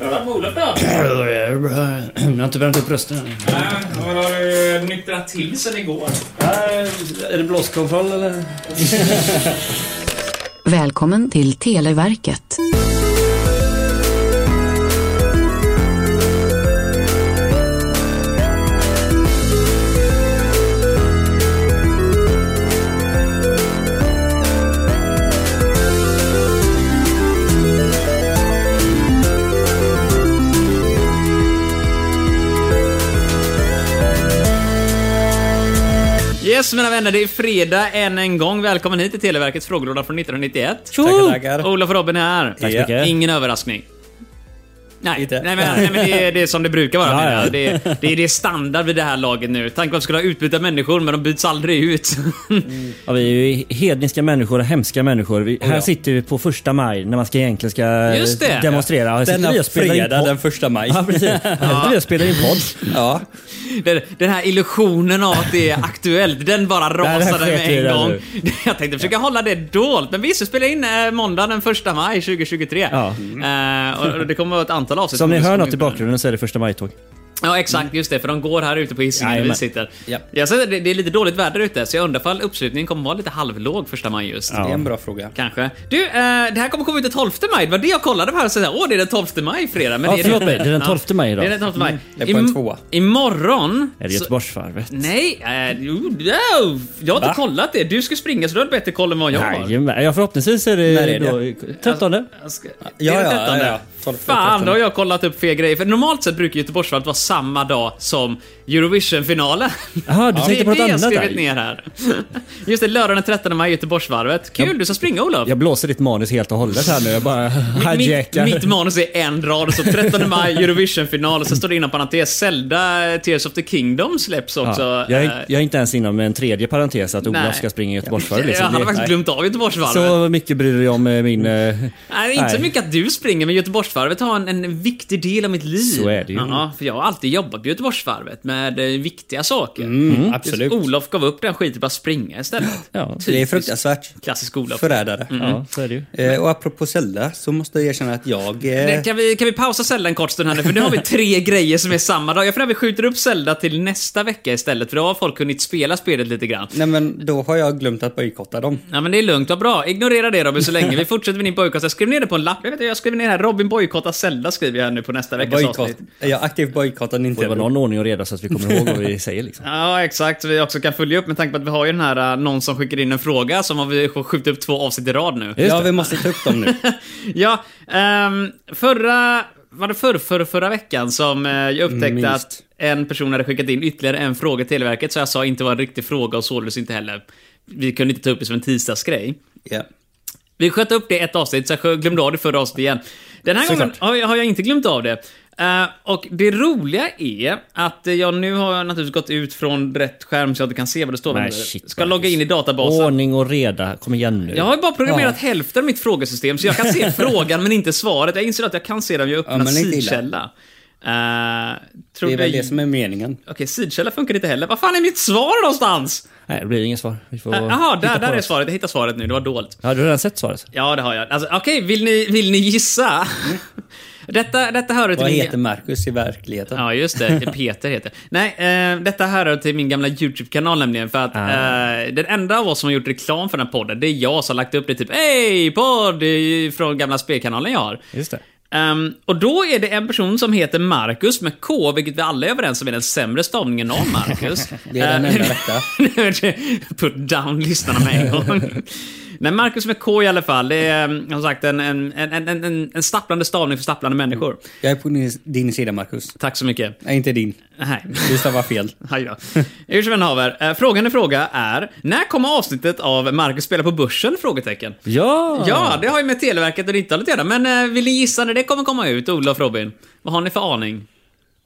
Vad har Olof då? Jag har inte värmt upp rösten än. Nej, men har du nyktrat till sen igår? Äh, Är det blåskontroll eller? Välkommen till Televerket. Yes, mina vänner, det är fredag än en gång. Välkommen hit till Televerkets frågelåda från 1991. Tackar, tackar. Olof och Robin är här. så mycket. Ingen överraskning. Nej, Inte. nej, men, nej, men det, är, det är som det brukar vara. Ja, menar jag. ja. Det, är- det är det är standard vid det här laget nu. Tanken var att vi skulle ha utbyta människor, men de byts aldrig ut. Ja, vi är ju hedniska människor och hemska människor. Vi, här sitter vi på första maj när man ska egentligen ska Just det. demonstrera. Här sitter Denna vi och spelar in fredag podd. den första maj. Ja, precis. Här sitter vi och spelar in podd. Ja. Den, den här illusionen av att det är aktuellt, den bara här rasade sket vi i med en det gång. nu. Jag tänkte försöka hålla det dolt, men visst, vi spelar in eh, måndag den 1 maj 2023. Ja. Eh, och- och det kommer att vara ett antal avsnitt. Så om ni som hör kommer något ut. i bakgrunden så är det första maj-tåg. Ja, exakt. Just det, för de går här ute på Hisingen där vi Jajamän. sitter. Ja. Jag ser, det, det är lite dåligt väder ute, så jag undrar ifall uppslutningen kommer vara lite halvlåg 1 maj just. Det är en bra fråga. Kanske. Du, eh, det här kommer komma ut den 12 maj. Det var det jag kollade på här och sa åh, det är den 12 maj fredag. Men Ja, det är förlåt det mig, inte. det är den Ja, 12 maj idag. Mm. Det är den 12 maj. det är på Im- en tvåa. Imorgon... Är det så- Göteborgsvarvet? Nej, eh, jo, jo, jag har inte kollat det. Du ska springa så du har bättre koll än vad jag har. Jajamän. Ja, förhoppningsvis är När det, är det? då 13. Jag ska- Ja, det är den ja, 13. ja, ja. 12, Fan, 13. då har jag kollat upp fel grejer. För normalt sett brukar Göteborgsvarvet vara samma dag som Eurovision-finalen. Jaha, du Ja. tänkte på något Det är det jag annat skrivit ner där. här. Just det, lördag den 13 maj, Göteborgsvarvet. Kul, du ska springa Olof. Jag blåser ditt manus helt och hållet här nu. Jag bara Mitt, hijackar. mitt manus är en rad och så 13 maj Eurovision-final och så står det inom parentes Zelda eh, Tears of the Kingdom släpps också. Ja, jag, Eh, är, jag är inte ens inom en tredje parentes att Nej. Olof ska springa Göteborgsvarvet. jag Liksom. hade Det- faktiskt glömt av Göteborgsvarvet. Så mycket bryr du dig om eh, min... eh, Nej, inte så nej. mycket att du springer, men Göteborgsvarvet har en, en viktig del av mitt liv. Så är det ju. Ja, för jag har alltid jobbat på Göteborgsvarvet med eh, viktiga saker. Mm. absolut. Just Olof gav upp den skiten och bara springa istället. Mm, Ja, Det är fruktansvärt. Klassisk Olof. Förrädare. Mm. ja, så är det ju. Eh, och apropå Zelda så måste jag erkänna att jag... Eh, Nej, Kan vi, kan vi pausa Zelda en kort stund här nu? För nu har vi tre grejer som är samma dag. Jag får vi skjuter upp Zelda till nästa vecka istället, för då har folk hunnit spela spelet lite grann. nej men då har jag glömt att bojkotta dem. Ja men det är lugnt, vad bra. Ignorera det Robin så länge. Vi fortsätter med din bojkott. Jag skrev ner det på en lapp. Jag, vet, inte, jag skrev ner här, Robin bojkottar Zelda skriver jag här nu på nästa veckas Bojkott. avsnitt. Jag aktivt bojkottar Får det vara Nintendo. någon ordning och reda så att vi kommer ihåg vad vi säger liksom. Ja, exakt. Vi också kan följa upp med tanke på att vi har ju den här eh, någon som skickar in en fråga som har vi skjutit upp två avsnitt i rad nu. Ja, vi måste ta upp dem nu. ja, ehm, förra... Var det förr, förr, förra veckan som eh, jag upptäckte Minst. att en person hade skickat in ytterligare en fråga till Televerket så jag sa inte var en riktig fråga och således inte heller... Vi kunde inte ta upp det som en tisdagsgrej. Ja. Vi sköt upp det ett avsnitt, så jag glömde av det förra avsnittet igen. Den här gången har jag, har jag inte glömt av det. Eh, och det roliga är att eh, jag nu har jag naturligtvis gått ut från rätt skärm så jag inte kan se vad det står. Nej, Men shit, ska logga in i databasen. Ordning och reda, kom igen nu. Jag har ju bara programmerat hälften av mitt frågesystem, så jag kan se frågan men inte svaret. Jag inser att jag kan se den om jag öppnar men det är inte illa. sidkälla. Uh, Det är tror väl jag... det som är meningen. Okej, sidkälla funkar inte heller. Vad fan är mitt svar någonstans? Nej, det blir inget svar. Vi får Eh, Jaha, titta där, på där är oss. svaret. Jag hittar svaret nu. Det var dolt. Ja, du har redan sett svaret? Ja, det har jag. Alltså, Okej, vill, ni, vill ni gissa? detta, detta hör till Mm. Vad min... heter Marcus i verkligheten? Ja, just det. Peter heter Nej, eh, detta hör till min gamla YouTube-kanal nämligen. För att Ah. eh, den enda av oss som har gjort reklam för den här podden, det är jag som har lagt upp det typ Hej, podd! eh, Från gamla spelkanalen jag har. Just det. Ehm, och då är det en person som heter Marcus med K, vilket vi alla är överens om är den sämre stavningen av Marcus. Det är den Ehm, enda rätta. Put down lyssnarna med en gång. Nej, Marcus med K i alla fall. Det är eh, som sagt en, en, en, en, en, en stapplande stavning för stapplande människor. Jag är på din, din sida Marcus. Tack så mycket. Nej, inte din. Nej. Du stavar fel. Aj då. Hur som än haver, eh, frågan i fråga är, när kommer avsnittet av Marcus spelar på börsen? Frågetecken. Ja! Ja, det har ju med eh, Televerket och 90-talet att göra, men eh, vill ni gissa när det kommer komma ut, Olof Robin? Vad har ni för aning?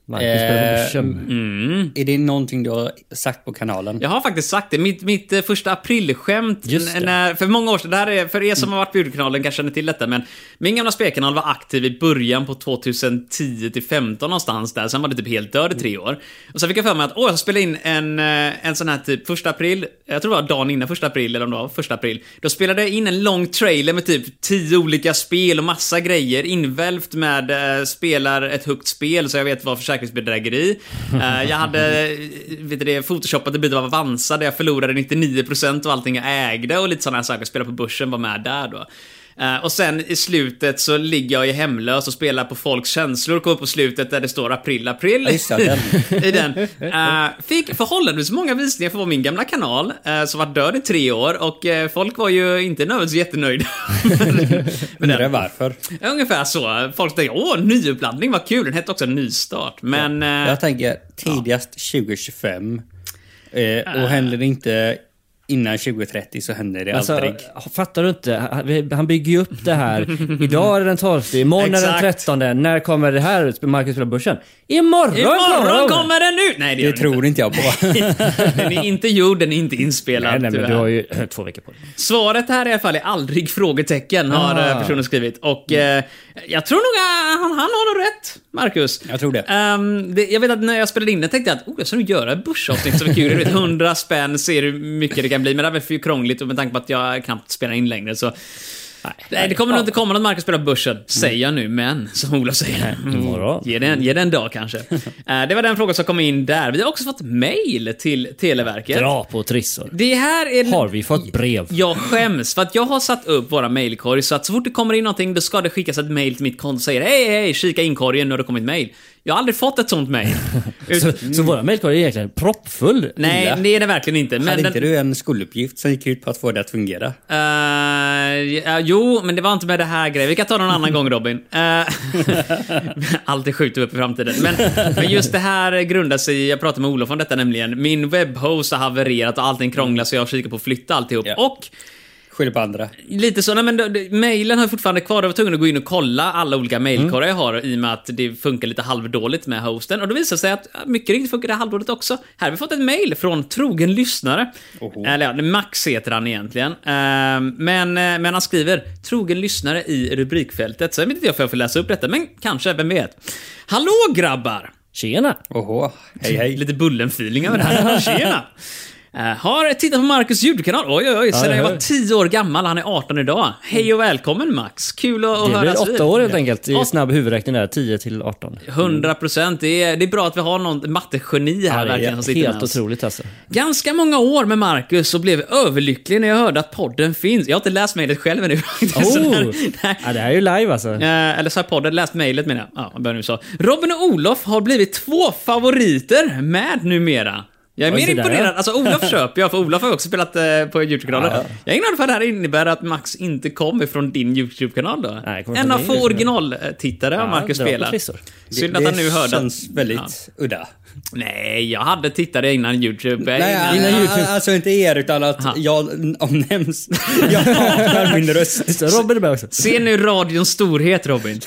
Marcus spelar på börsen. mm, Mm. Är det någonting du har sagt på kanalen? Jag har faktiskt sagt det. Mitt, mitt eh, första aprilskämt, Just det. Mm. n- när, för många år sedan, det här är, för er som har varit på julkanalen kanske känner till detta, men min gamla spelkanal var aktiv i början på 2010 till 15 någonstans där, sen var det typ helt död i tre år. Och sen fick jag för mig att, åh, jag spelade in en, eh, en sån här typ första april, jag tror det var dagen innan första april, eller om det var första april. Då spelade jag in en lång trailer med typ tio olika spel och massa grejer invälvt med eh, spelar ett högt spel så jag vet vad försäkringsbedrägeri. Eh, jag hade eh, vet du det, photoshopat en bit av Avanza där jag förlorade 99% av allting jag ägde och lite sådana här saker. Spela på börsen var med där då. Eh, och sen i slutet så ligger jag ju hemlös och spelar på folks känslor. Kommer på slutet där det står april, april. Ja, just det, I den. Eh, fick förhållandevis många visningar för att vara min gamla kanal, eh, som var död i tre år. Och eh, folk var ju inte nödvändigtvis jättenöjda. Men Undrar varför. Mm. Ungefär så. Folk tänkte åh, nyuppladdning, vad kul. Den hette också Nystart. Men... eh, Jag tänker tidigast 2025. Eh, Ah. och händer det inte innan 2030 så händer det Alltså, aldrig. fattar du inte? Han- Han bygger ju upp det här. Idag är det den 12, imorgon är det den Exakt. 13. När kommer det här ut? Marcus spelar på börsen. Imorgon, Imorgon kommer den ut! Nej, det gör Det den inte. tror inte jag på. Den är inte gjord, den är inte inspelad. Nej, nej, men tyvärr. du har ju två veckor på dig. Svaret här i alla fall är aldrig frågetecken, har Ah. eh, personen skrivit. Och eh, jag tror nog eh, han, han har nog rätt, Marcus. Jag tror det. Ehm, det. Jag vet att när jag spelade in det tänkte jag att oh, jag ska nog göra ett börsavsnitt som är kul. Jag vet, 100 spänn, ser hur mycket det kan bli. Men det här var för krångligt och med tanke på att jag knappt spelar in längre så... Nej, det kommer nog inte komma något Marcus spelar på börsen, säger jag nu, men som Olof säger. Mm. imorgon. Ge det, en, ge det en dag kanske. Eh, det var den frågan som kom in där. Vi har också fått mail till Televerket. Dra på trissor. Det här är... Har vi fått brev? Jag skäms för att jag har satt upp våra mailkorg så att så fort det kommer in någonting då ska det skickas ett mail till mitt konto och säger hej hej kika inkorgen nu har det kommit mail. Jag har aldrig fått ett sånt mail. Ut- Så, så våra mejlkorg är egentligen proppfull. Nej, Illa. det är det verkligen inte. Men Hade den, inte du en skoluppgift som gick ut på att få det att fungera? Eh, ja, jo, men det var inte med det här grejen. Vi kan ta någon annan gång Robin. Eh, alltid skjuter vi upp i framtiden. Men, men just det här grundar sig i, jag pratade med Olof om detta nämligen, min webbhost har havererat och allting krånglar så jag kikar på att flytta alltihop. Ja. Och Skyll på andra. Lite så, nej men det- det- mejlen har jag fortfarande kvar. Jag var tvungen att gå in och kolla alla olika mejlkorgar jag har i och med att det funkar lite halvdåligt med hosten. Och då visar det sig att ja, mycket riktigt funkar det halvdåligt också. Här har vi fått ett mejl från trogen lyssnare. Eller ja, det- Max heter han egentligen. Ehm, Men, eh, men han skriver “trogen lyssnare” i rubrikfältet. Så jag vet inte om jag får läsa upp detta, men kanske, vem vet? Hallå grabbar! Tjena! Oho, hej hej. Lite bullen-feeling över det här. Tjena! Eh, Har tittat på Marcus ljudkanal, oj oj oj, sedan jag jag var hör. 10 år gammal. Han är 18 idag. Hej och välkommen Max! Kul att att Det höras blir vid. åtta år helt enkelt i Ja. snabb huvudräkning där. 10 till 18. 100 procent. Det är, det är bra att vi har någon mattegeni här Ja, det verkligen som sitter är med helt oss. otroligt alltså. Ganska många år med Marcus och blev överlycklig när jag hörde att podden finns. Jag har inte läst mejlet själv ännu. Så Oh! där- nej. Ja, det här är ju live alltså. Eh, eller så här podden, läst mejlet menar jag. Ja, jag börjar nu så. Robin och Olof har blivit två favoriter med numera. Jag är Oj, mer se där, imponerad. ja. Alltså Olof köper jag, för Olof har ju också spelat eh, på YouTube-kanalen. Jag är glad för att det här innebär att Max inte kommer från din YouTube-kanal då. Nej, jag kommer en från av min få YouTube-kanal. originaltittare har Ja, Marcus dra på spelat. trissor. Synd att han nu hörde känns att... väldigt udda. Nej, jag hade tittare innan YouTube. eh, Nej, innan... YouTube. alltså inte er utan att jag omnämns. Jag har min röst. Så Robin är med också. Se nu radions storhet Robin.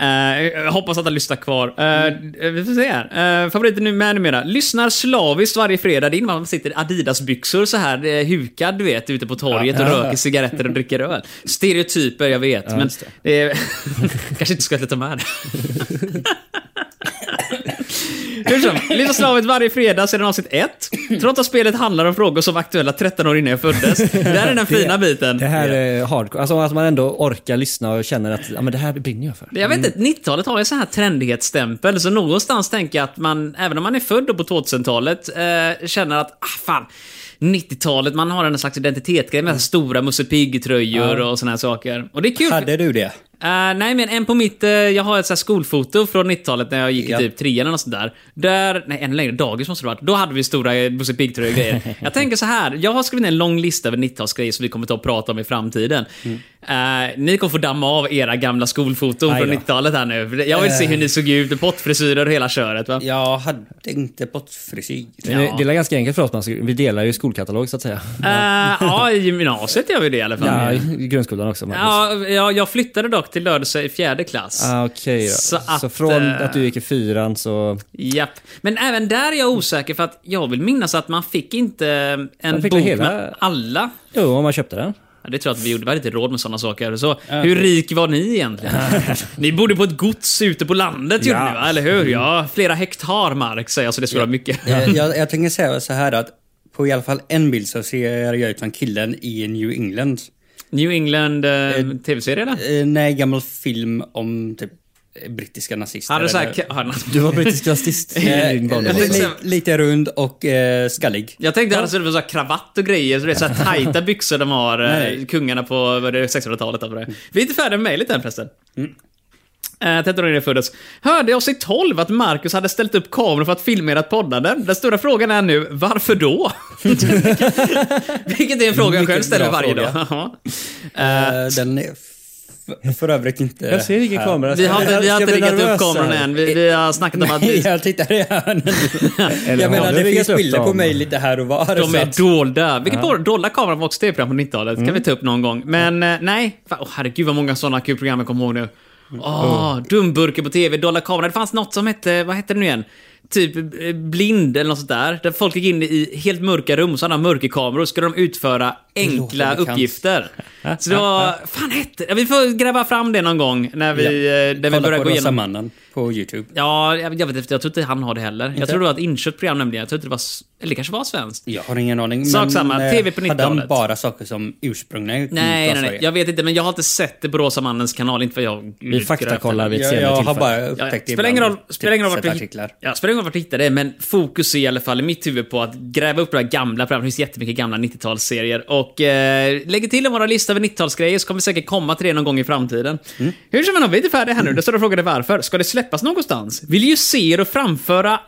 Eh, jag hoppas att han lyssnar kvar. Eh, vi får se här. Eh, favoriten nu med numera. Lyssnar slaviskt varje fredag. Det innebär att man sitter i Adidas-byxor så här eh, hukad du vet ute på torget och röker cigaretter och dricker öl. Stereotyper, jag vet. men just det är, kanske inte ska ta med det. Hur som, Lyssna slavet varje fredag sedan avsnitt 1. Trots att spelet handlar om frågor som var aktuella 13 år innan jag föddes. Där är den fina biten. Det här är hardcore. Alltså att man ändå orkar lyssna och känner att ja, men det här brinner jag för. Jag vet inte, 90-talet har ju så här trendighetsstämpel, så någonstans tänker jag att man, även om man är född då på 2000-talet, eh, känner att, ah fan, 90-talet, man har en slags identitetsgrej med så här stora Musse Pigg-tröjor och såna här saker. Och det är kul. Hade du det? Eh, nej, men en på mitt... eh, jag har ett så här skolfoto från 90-talet när jag gick Ja. i typ trean eller något sånt där. Där... Nej, ännu längre. Dagis måste det ha varit. Då hade vi stora eh, Musse Pigg-tröjor och grejer. jag tänker så här. Jag har skrivit ner en lång lista över 90-talsgrejer som vi kommer ta och prata om i framtiden. Eh, ni kommer få damma av era gamla skolfoton Mm. Aj från då. Eh. 90-talet här nu. för det- Jag vill se hur ni såg ut, pottfrisyrer och hela köret va? Jag hade inte pottfrisyr. Ja. Det det är ganska enkelt för oss. man ska- Vi delar ju skolkatalog så att säga. Eh, ja, i gymnasiet gör vi det i alla fall. Ja, i grundskolan också. Magnus. Ja, jag, jag flyttade dock till Lödöse i fjärde klass. Ah, Okej då. Så Så, att, från eh, att du gick i fyran så... Japp. Men även där är jag osäker för att jag vill minnas att man fick inte eh, en Man fick bok väl hela- med alla. Jo, om man köpte den. Ja, Det tror jag att vi gjorde. Vi hade inte råd med sådana saker. Så, hur rik var ni egentligen? ni bodde på ett gods ute på landet gjorde Ja. ni va? Eller hur? Ja, flera hektar mark säger jag så det skulle vara mycket. Eh, jag, jag tänker säga så här att på i alla fall en bild så ser jag ut som killen i New England. New England eh, tv-serie eller? Eh, nej, gammal film om typ eh, brittiska nazister. Hade så här... eller- ka- hade något- Du var brittisk rasist i Eh, din barndom. jag li- tänkte- också. li- lite rund och eh, skallig. Jag tänkte att det var så här kravatt och grejer, så det är så här tajta byxor de har, eh, Nej. kungarna på vad är det, 1600-talet. eller vad det är. Vi är inte färdiga med mejlet än förresten. Mm. Eh, 13 föddes. Hörde jag sig 12 att Marcus hade ställt upp kameror för att filma ert poddande? Den stora frågan är nu, varför då? Vilket är en fråga jag Mycket själv ställer bra varje fråga. dag. Ja. Eh, den är f- för övrigt inte... Jag ser ingen här. kamera. Vi har inte, Jag vi har ska inte bli riggat upp nervös kamerorna här. än. Vi, vi har snackat om att Nej, vi, jag tittar i hörnen. Eller jag har menar, du det riggat finns upp bilder på dem? mig lite här och var. de så är att- dolda. Vilket ja. dolda kameran var också tv-program på 90-talet. kan Mm. vi ta upp någon gång. Men eh, nej. Fan, Åh herregud vad många sådana kul program jag kommer ihåg nu. Åh, Oh. dumburken på tv, dolda kameran. Det fanns något som hette, vad hette det nu igen? Typ eh, blind eller något sånt där. Där folk gick in i helt mörka rum, sådana mörkerkameror, och skulle de utföra enkla låter bekant. uppgifter. Så det var, fan hette ja, Vi får gräva fram det någon gång när vi, eh, när vi Kolla börjar på gå igenom. Rosamannen på YouTube. Ja, jag, jag vet inte, jag tror inte han har det heller. Jag tror det var ett inköpt program nämligen. Jag tror inte det var, s- eller det kanske var svenskt. Jag har ingen aning. Sak samma, eh, TV på Hade 90-talet. han bara saker som ursprungligen kom alltså, Nej, nej, från nej. Sverige? Jag vet inte, men jag har inte sett det på Rosa Mannens kanal. Inte vad jag... Vi faktakollar vid ett Jag, senare jag har tillfälle. bara Ja, ja. upptäckt Spelar ingen roll, spelar ingen roll vart, vi vi, artiklar. ja, spelar ingen roll vart vi hittar det, men fokus är i alla fall i mitt huvud på att gräva upp de här gamla programmen. Det finns jättemycket gamla 90-talsserier. Och eh, lägger till en vår lista över 90-talsgrejer så kommer vi säkert komma till det någon gång i framtiden. Mm. Hur som helst, vi är inte färdiga här nu. Då står det och frågade varför. Ska det släppas någonstans? Vill ju se er och framföra... Eh,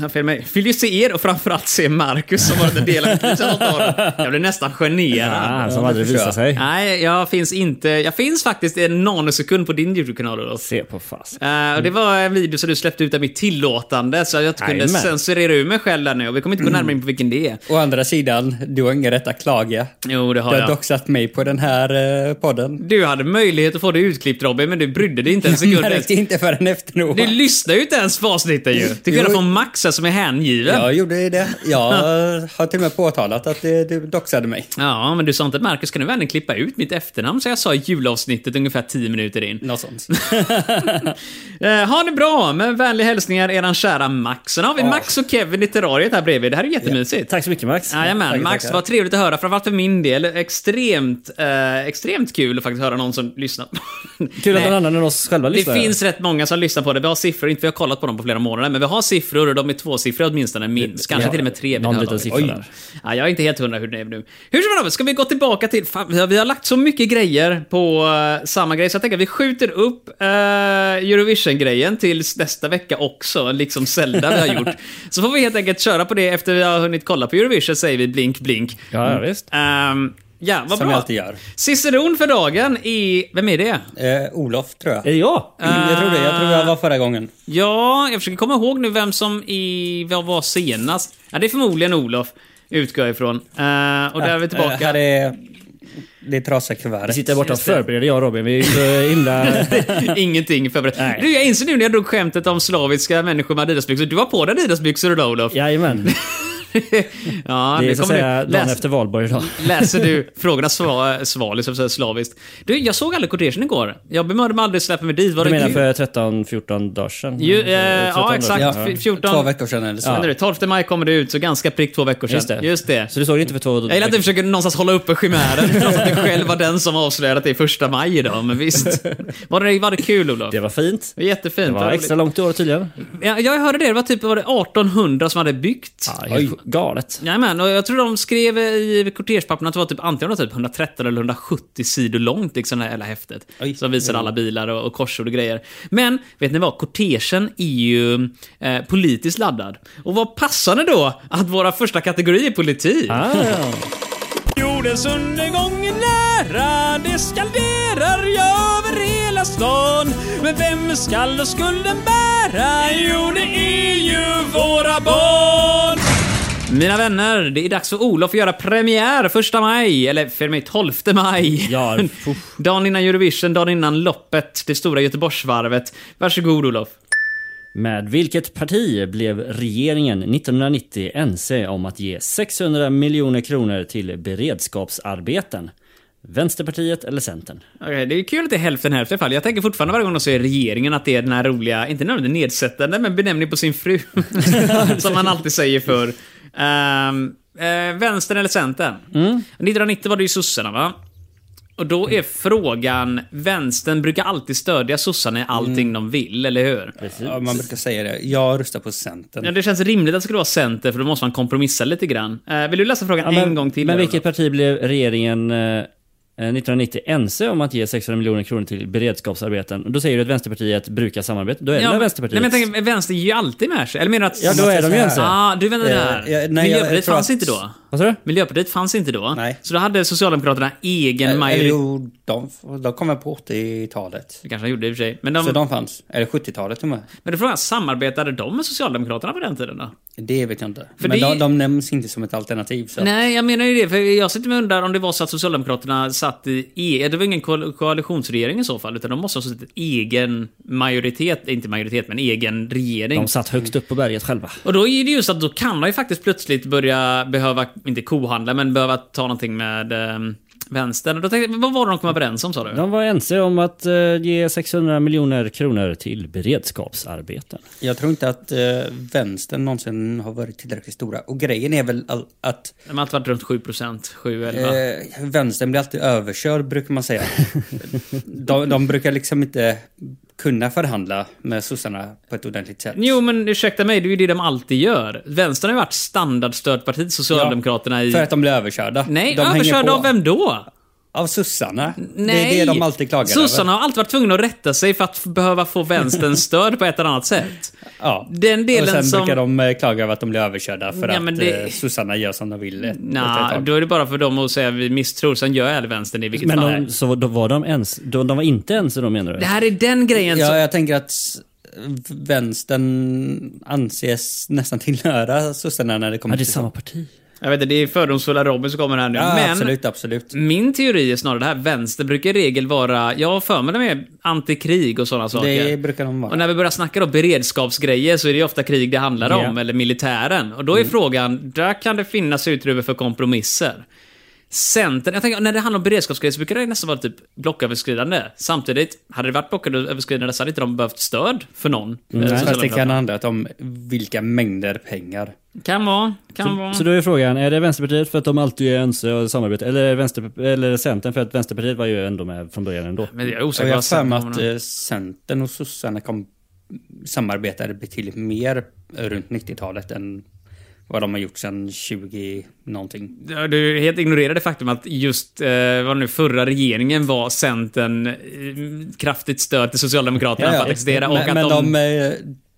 här, fel mig. Vill ju se er och framförallt se Marcus som varit en del av mitt liv sedan åtta år. Jag blir nästan generad. Ah, som Ja, aldrig det förstår visar sig. Nej, jag finns inte. Jag finns faktiskt en nanosekund på din YouTube-kanal Olof. Se på fas. Eh, och det var en video som du släppte utan mitt tillåtande, så jag inte kunde Jajamän. censurera ur mig själv där nu. Och vi kommer inte gå närmare in på vilken det är. Å andra sidan, du har ingen rätt att klaga. Jo, det har Du har jag. doxat mig på den här eh, podden. Du hade möjlighet att få det utklippt Robin, men du brydde dig inte en sekund. ens. Märkte inte förrän efteråt. Du lyssnar ju inte ens på avsnittet ju. Till skillnad Jo. från Max här, som är hängiven. Ja. Jag gjorde det. Jag har till och med påtalat att eh, du doxade mig. men du sa inte Marcus, kan du väl klippa ut mitt efternamn? Så jag sa i julavsnittet ungefär 10 minuter in. Något sånt. Eh, ha det bra, men vänliga hälsningar eran kära Max. Sen har vi Max och Kevin i terrariet här bredvid. Det här är jättemysigt. Tack så mycket Max. Jajamän, Tackar, Max, tackar. vad trevligt att höra. Framförallt för min del. Extremt, eh, extremt kul att faktiskt höra någon som lyssnar. Kul att Nej. någon annan än oss själva Det lyssnar. finns rätt många som lyssnar på det. Vi har siffror, inte vi har kollat på dem på flera månader, men vi har siffror och de är tvåsiffriga åtminstone, minst. Kanske ja, till och med tre. vid det någon här liten laget. siffra Oj. där. Ja, jag är inte helt hundra hur det är nu. Hur som helst, ska vi gå tillbaka till... Fan, vi har- vi har lagt så mycket grejer på eh, samma grej, så jag tänker att vi skjuter upp eh, Eurovision-grejen tills nästa vecka också, liksom Zelda vi har gjort. Så får vi helt enkelt köra på det efter vi har hunnit kolla på Eurovision, säger vi blink, blink. Ja, ja, visst. Ehm, ja, vad Som bra. jag alltid gör. Ciceron för dagen är... Vem är det? Eh, Olof, tror jag. Är det jag? Jag tror det. Jag tror jag var förra gången. Ja, jag försöker komma ihåg nu vem som i, vad var senast. Ja, det är förmodligen Olof, utgår jag ifrån. Eh, och där är vi Eh, tillbaka. Här är det är trasiga Jag kuvertet. sitter här borta och förbereder jag och Robin. Vi är ju så himla... Ingenting förberett. Du, jag inser nu när jag drog skämtet om slaviska människor med Adidasbyxor. Du var på dig Adidasbyxor idag Olof. Jajamän. ja Det nu är så att kommer du- säga dagen läs- efter valborg idag. Läser du frågorna sva, svaliskt, så att säga slaviskt. Du, jag såg aldrig kortegen igår. Jag bemödde mig aldrig att släppa mig dit. Var Du det menar kul? för 13-14 dagar sedan? Ju, eh, 13 dagar ja, sedan. exakt. Ja, F- 14. Två veckor sedan eller så. Vad menar du? 12 maj kommer det ut, så ganska prick två veckor sedan. Just det. Så du såg det inte för två Jag gillar att du försöker någonstans hålla uppe chimären, trots att du själv var den som avslöjade att det är första maj idag, men visst. Var det, var det kul, Olof? Det var fint. var jättefint. Det vad var roligt. extra långt i år tydligen. Ja, jag hörde det, det var typ var det 1800 som hade byggt. Ja, helt galet. Jajamän, och jag tror de skrev i kortegepapperna att det var typ antingen var det typ 113 eller 170 sidor långt, liksom det här hela häftet. Oj. Som visar alla bilar och, och korsord och grejer. Men, vet ni vad? Kortegen är ju eh, politiskt laddad. Och vad passande då att våra första kategori är politik. Ah, Jo, jordens undergång är nära, det skanderar jag över hela stan. Men vem skall då skulden bära? Jo, det är ju våra barn! Mina vänner, det är dags för Olof att göra premiär första maj, eller för mig 12 maj. Ja, dagen innan Eurovision, dagen innan loppet, det stora Göteborgsvarvet. Varsågod Olof. Med vilket parti blev regeringen 1990 ense om att ge 600 miljoner kronor till beredskapsarbeten? Vänsterpartiet eller Centern? Okej, det är kul att det är hälften hälften i alla fall. Jag tänker fortfarande varje gång de säger regeringen att det är den här roliga, inte nödvändigtvis nedsättande, men benämning på sin fru. som man alltid säger för. vänstern eller Centern? Mm. 1990 var det ju sossarna va? Och då är frågan, vänstern brukar alltid stödja sossarna i allting Mm. de vill, eller hur? Ja, man brukar säga det. Jag röstar på Ja, Centern. det känns rimligt att det skulle vara Center, för då måste man kompromissa lite grann. Eh, vill du läsa frågan Ja, men, en gång till? Men Olof? vilket parti blev regeringen eh, eh, 1990 ense om att ge 600 miljoner kronor till beredskapsarbeten? Då säger du att Vänsterpartiet brukar samarbeta. Då är det väl Vänsterpartiet? Nej, men jag tänker, vänster ger ju alltid med sig. Eller menar du att... Ja, då är de ju ense. Ah, du menar det Eh, ja, där. nej, jag- jag Miljöpartiet tror fanns att- inte då. Vad sa du? Miljöpartiet fanns inte då. Nej. Så då hade Socialdemokraterna egen Eller majoritet. Eh, jo, de, de kom väl på 80-talet. Det kanske de gjorde i och för sig. Men, de, Så de fanns. Eller 70-talet till och med. men då frågar jag, samarbetade de med Socialdemokraterna på den tiden då? Det vet jag inte. För Men det- de, de nämns inte som ett alternativ. Så. Nej, jag menar ju det. För jag sitter med och undrar om det var så att Socialdemokraterna satt i... E- det var ingen ko- koalitionsregering i så fall, utan de måste ha suttit i egen majoritet. Inte majoritet, men egen regering. De satt högst upp på berget själva. Och då är det just att då kan man ju faktiskt plötsligt börja behöva, inte kohandla, men behöva ta någonting med eh, vänstern. Och Då tänkte, jag, vad var det de kom överens om sa du? De var ense om att eh, ge 600 miljoner kronor till beredskapsarbeten. Jag tror inte att eh, vänstern någonsin har varit tillräckligt stora. Och grejen är väl all, att De har alltid varit runt 7%, 7-11. eh, vänstern blir alltid överkörd brukar man säga. de, de brukar liksom inte kunna förhandla med sossarna på ett ordentligt sätt. Jo, men ursäkta mig, det är ju det de alltid gör. Vänstern har ju varit standardstödpartiet till Socialdemokraterna i... För att de blir överkörda. Nej, de hänger överkörda på. av vem då? Av sossarna. Nej! Det är det de alltid klagar Sossarna har alltid varit tvungna att rätta sig för att f- behöva få vänsterns stöd på ett eller annat sätt. över. Ja. Den och sen delen som... brukar de eh, klaga över att de blir överkörda för Ja, men att det- eh, sossarna gör som de vill. ett- åt ett Nej, tag. då är det bara för dem att säga vi misstror, sen gör jag vänstern i vilket Men fall. de, så då var de ens, de, de var inte ense då menar du? Det här är den grejen Ja, som... jag tänker att s- vänstern anses nästan tillhöra sossarna när det kommer Ja, det är till samma parti. Jag vet inte, det är fördomsfulla Robin som kommer här nu. Ja, men absolut, absolut. min teori är snarare det här. Vänster brukar i regel vara... Jag har för mig det med antikrig och sådana saker. Det brukar de Och vara. när vi börjar snacka då beredskapsgrejer så är det ju ofta krig det handlar Ja. om, eller militären. Och då är Mm. frågan, där kan det finnas utrymme för kompromisser. Centern, jag tänker, när det handlar om beredskapsgrejer så brukar det nästan vara typ blocköverskridande. Samtidigt, hade det varit blocköverskridande så hade inte de behövt stöd för någon. Eh, Mm. Fast det Socialdemokraterna. kan ha handlat om vilka mängder pengar. kan vara, kan vara. Så då är frågan, är det Vänsterpartiet för att de alltid är ense och samarbetar? Eller, är det vänster, eller är det Centern för att Vänsterpartiet var ju ändå med från början ändå? Men jag är Och osäker jag på har vad för mig Centern att eh, Centern och sossarna kom, samarbetade betydligt mer runt 90-talet än vad de har gjort sedan 20 någonting. Ja, Du helt ignorerade faktum att just eh, vad nu förra regeringen var Centern eh, kraftigt stöd till Socialdemokraterna för att existera och men, att men de... de... eh,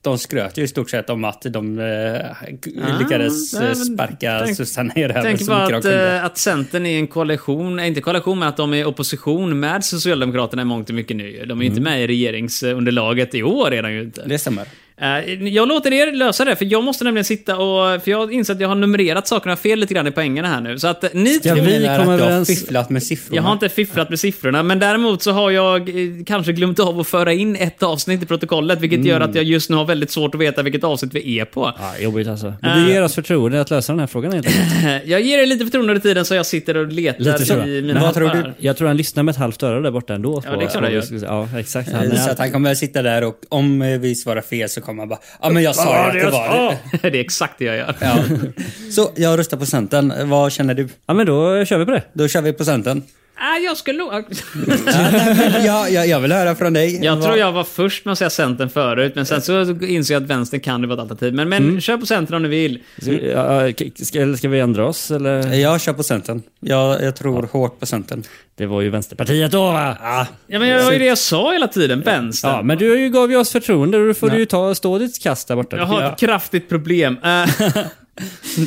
de skröt ju i stort sett om att de eh, Ah, lyckades eh, nej, men sparka tänk- sossarna i röven Tänk så bara mycket de att, kunde. eh, att Centern är en koalition, eh, inte koalition, men att de är i opposition med Socialdemokraterna i mångt och mycket nu. De är ju inte med i regeringsunderlaget i år, är de ju inte. Mm. Det stämmer. Eh, Jag låter er lösa det, för jag måste nämligen sitta och... För jag inser att jag har numrerat sakerna fel lite grann i poängerna här nu. Så att eh, ni Ja, två- vi menar kom att du överens- har fifflat med siffrorna. Jag har inte fifflat med siffrorna, men däremot så har jag eh, kanske glömt av att föra in ett avsnitt i protokollet, vilket gör att jag just nu har väldigt svårt att veta vilket avsnitt vi är på. Ja, jobbigt alltså. Men du ger oss förtroende att lösa den här frågan helt enkelt. Jag ger er lite förtroende under tiden så jag sitter och letar Lite så. i mina Men vad tror du? appar. Jag tror han lyssnar med ett halvt öra där borta ändå. Ja, det är klart han gör. Ja, exakt. Han Eh, Så att är, han kommer sitta där och om eh, vi svarar fel så kommer han bara Ja men jag sa ju att det var det. det. är exakt det jag gör. Ja. Så jag röstar på Centern. Vad känner du? ja, men då kör vi på Mm. det. Då kör vi på Centern. Ah, jag skulle nog... Ja, jag, jag vill höra från dig. Jag Vad- tror jag var först med att säga Centern förut, men sen så insåg jag att vänstern kan vara ett alternativ. Men, men kör på Centern om ni vill. Ska, vi- ja, ja, ska, eller ska vi ändra oss eller? Jag kör på Centern. Jag, jag tror hårt på Centern. Det var ju Vänsterpartiet då va? Ah, Ja, men det var ju det jag sa hela tiden, vänstern. Ja, men du har ju- gav ju oss förtroende och då får du ju ta, stå ditt kast där borta. Jag har ett kraftigt problem. Eh,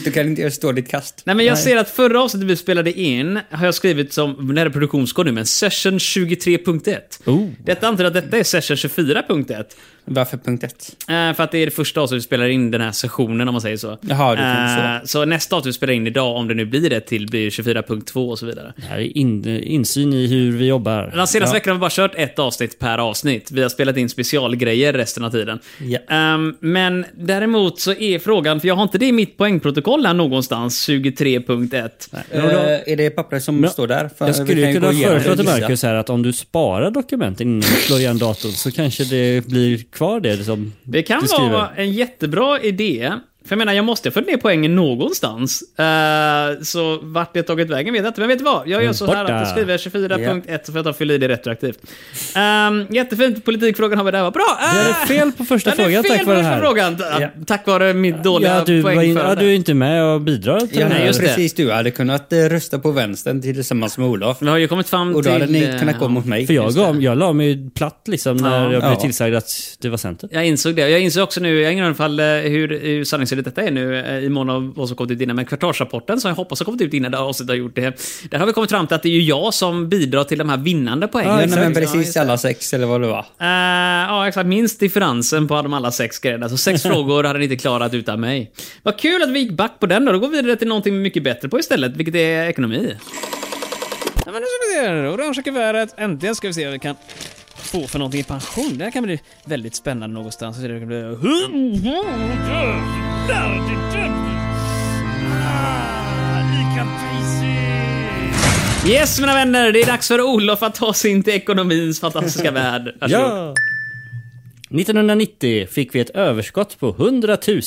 Du kan inte stå ditt kast. Nej men jag ser att förra avsnittet vi spelade in har jag skrivit som, nära produktionskod nu, men session 23.1. Oh. Detta antyder att detta är session 24.1. Varför punkt ett? Eh, för att det är det första avsnittet vi spelar in den här sessionen om man säger så. Jaha, du tänker Eh, så nästa avsnitt vi spelar in idag, om det nu blir det till, blir 24.2 och så vidare. Det här är in, insyn i hur vi jobbar. Den senaste veckan har vi bara kört ett avsnitt per avsnitt. Vi har spelat in specialgrejer resten av tiden. Ja. Ehm, men däremot så är frågan, för jag har inte det i mitt poängprotokoll här någonstans, 23.1. Eh, är det pappret som Men- står där? För Jag vi skulle kan ju ju kunna gå igenom föreslå det till och gissa. Marcus här att om du sparar dokumenten innan du slår igen datorn så kanske det blir kvar det som Det kan du skriver. vara en jättebra idé. För jag menar, jag måste ha fått ner poängen någonstans. Eh, så vart det tagit vägen vet jag inte. Men vet du vad? Jag gör så här att jag Mm, Borta. skriver 24.1 så får jag ta och fylla i det retroaktivt. Ehm, jättefint. Politikfrågan har vi där. Vad bra! Eh, Du hade fel på första Jag hade frågan fel tack på vare det första här. Frågan, Ja. Tack vare mitt dåliga Ja, du, var poäng in, förra ja, där. du är inte med och bidrar till Ja, den här. Nej, just det. precis. Du hade kunnat eh, rösta på vänstern tillsammans med Olof. Vi har ju kommit fram Och då till... hade ni eh, kunnat gå mot mig. För jag, gav, jag la mig ju platt liksom när Ja. jag blev Ja. tillsagd att det var Centern. Jag insåg det. Jag insåg också nu, jag har ingen aning fall eh, hur, hur sanningsenligt detta är nu eh, i mån av vad som kommit ut innan, men kvartalsrapporten som jag hoppas har kommit ut innan det här avsnittet har gjort det. Där har vi kommit fram till att det är ju jag som bidrar till de här vinnande poängen. Ja, Ja, nej, men precis Ja, alla sex eller vad det var. ja, exakt. Minst differensen på de alla sex grejerna. Så sex frågor hade ni inte klarat utan mig. Vad kul att vi gick back på den då. Då går vi vidare till någonting vi är mycket bättre på istället, vilket är ekonomi. Ja, men nu ska vi se. här. Orange kuvertet. Äntligen ska vi se vad vi kan få för någonting i pension. Det här kan bli väldigt spännande någonstans. Så det kan bli... Yes mina vänner, det är dags för Olof att ta sig in till ekonomins fantastiska värld. Varsågod. Ja. 1990 fick vi ett överskott på 100 000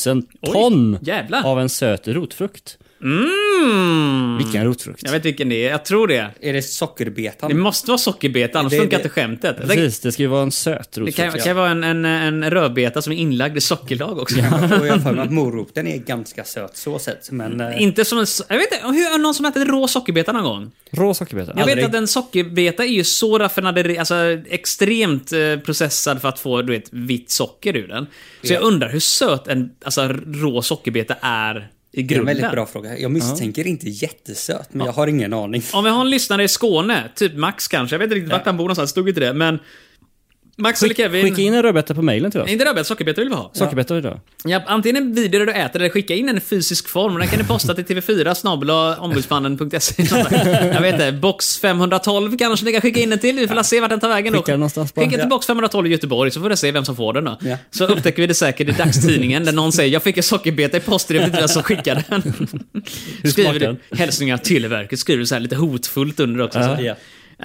ton jävlar. av en söt rotfrukt. Mm. Vilken rotfrukt? Jag vet vilken det är, jag tror det. Är det Det sockerbetan? måste vara sockerbeta, annars Det- funkar det- inte skämtet. Det, Precis, det ska ju vara en söt det rotfrukt. kan, kan vara en, en, en rödbeta som är inlagd i sockerlag också. Och jag har för mig att moroten är ganska söt så sett. Men eh, Inte som en... so- Jag vet inte, hur, har någon som ätit rå sockerbeta någon gång? Rå sockerbeta. Jag vet Aldrig. att en sockerbeta är ju så raffinaderi, alltså extremt eh, processad för att få du vet, vitt socker ur den. Så jag undrar hur söt en alltså, rå sockerbeta är i det är en grunden. väldigt bra fråga. Jag misstänker inte jättesöt, men jag har ingen aning. Om vi har en lyssnare i Skåne, typ Max kanske, jag vet inte riktigt vart han bor någonstans, stod inte det, men Max eller Skick, Kevin... skicka in en rödbeta på mejlen till oss. Inte rödbeta, sockerbeta vill vi ha. Sockerbeta idag. Ja, antingen en video där du äter eller skicka in en i fysisk form. Den kan ni posta till TV4 snabel-a ombudsmannen.se. E. Jag vet inte, box 512 kanske ni kan skicka in den till. Vi får la se vart den tar vägen då. Skicka den någonstans bara. skicka till box 512 i Göteborg så får vi se vem som får den då. Ja. Så upptäcker vi det säkert i dagstidningen där någon säger jag fick en sockerbeta i posten, jag vet inte vem som skickade den. Skriver den? du hälsningar till Televerket, skriver du så här lite hotfullt under också. Så. Ja.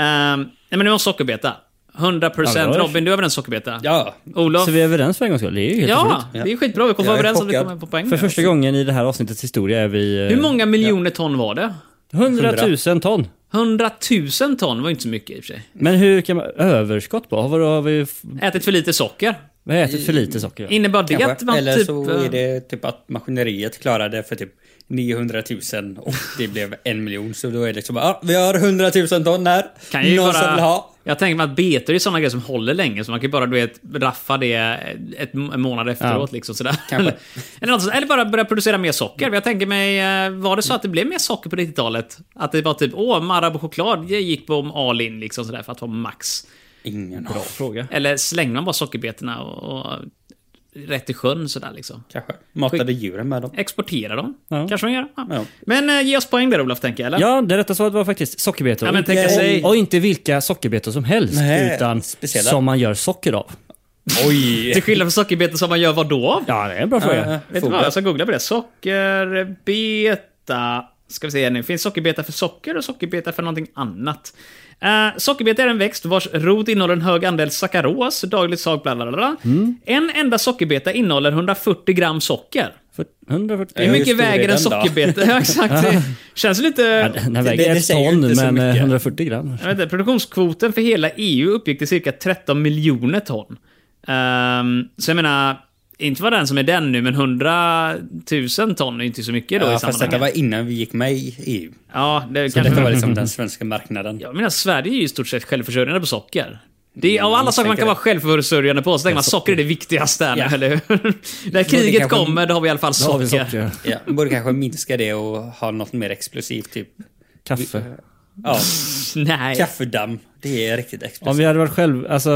Ehm, nej men det var sockerbeta. 100% Ja, det var det. Robin, du har väl en sockerbeta? Ja, Olof? Så vi är överens för en gångs skull. Det är ju helt Ja, otroligt. det är skitbra. Vi kommer vara Jag är överens om vi chockad. kommer på poäng. För där. första gången i det här avsnittets historia är vi... eh, Hur många miljoner ton var det? 100 000 ton. 100 000 ton var ju inte så mycket i och för sig. Men hur kan man... Överskott på? Har vi, har vi, f- Ätit för lite socker. vi har ätit för lite socker? Innebar det att kanske. man Eller typ... så är det typ att maskineriet klarade för typ 900 000 och det blev en miljon. Så då är det liksom, ja, vi har 100 000 ton här. Kan ju Någon som vill bara, ha. jag tänker mig att betor är såna grejer som håller länge, så man kan ju bara du vet, raffa det ett, en månad efteråt. Liksom, sådär. Eller, något, sånt. eller bara börja producera mer socker. Jag tänker mig, eh, var det så att det blev mer socker på 90-talet? Att det var typ, åh, Marabou choklad det gick på all in liksom, sådär, för att ha max. Ingen bra fråga. Eller slängde man bara sockerbetorna och, och rätt i sjön sådär liksom? Kanske. Matade djuren med dem. Exportera dem? Ja. Kanske man gör? Ja. Ja. Men eh, ge oss poäng där Olof, tänker jag. Eller? Ja, det rätta svaret var faktiskt sockerbetor. Ja, men tänka och, sig- och inte vilka sockerbetor som helst, Nej, utan speciella. som man gör socker av. Oj! Till skillnad från sockerbetor som man gör vad då av? Ja, det är en bra fråga. Ja, Vet du vad, jag ska googla på det. Sockerbeta. Ska vi se här nu. Finns sockerbeta för socker och sockerbeta för någonting annat? Eh, sockerbeta är en växt vars rot innehåller en hög andel sackaros, dagligt sag, bla bla bla. bla. En enda sockerbeta innehåller 140 gram socker. För 140... Hur hur mycket stor är väger en den då? sockerbeta? Ja, exakt. Det känns lite... Ja, den här väger det ett säger ju ton, inte så men eh, mycket. 140 gram. Jag vet inte, produktionskvoten för hela EU uppgick till cirka 13 miljoner ton. Ehm, så jag menar, inte var den som är den nu, men 100 000 ton är inte så mycket då i Ja, fast sammanhanget. detta var innan vi gick med i E EU. Ja, det Så kanske... detta var liksom den svenska marknaden. Jag menar, Sverige är ju i stort sett självförsörjande på socker. Det är, av alla saker man kan tänker vara självförsörjande på så tänker man socker är det viktigaste här nu, Ja. eller hur? När kriget kanske- kommer, då har vi i alla fall Då har vi socker. socker. Ja, man borde kanske minska det och ha något mer explosivt, typ. Kaffe. Ja, Nej. kaffedamm. Det är riktigt Om explosivt. vi hade varit själv, alltså,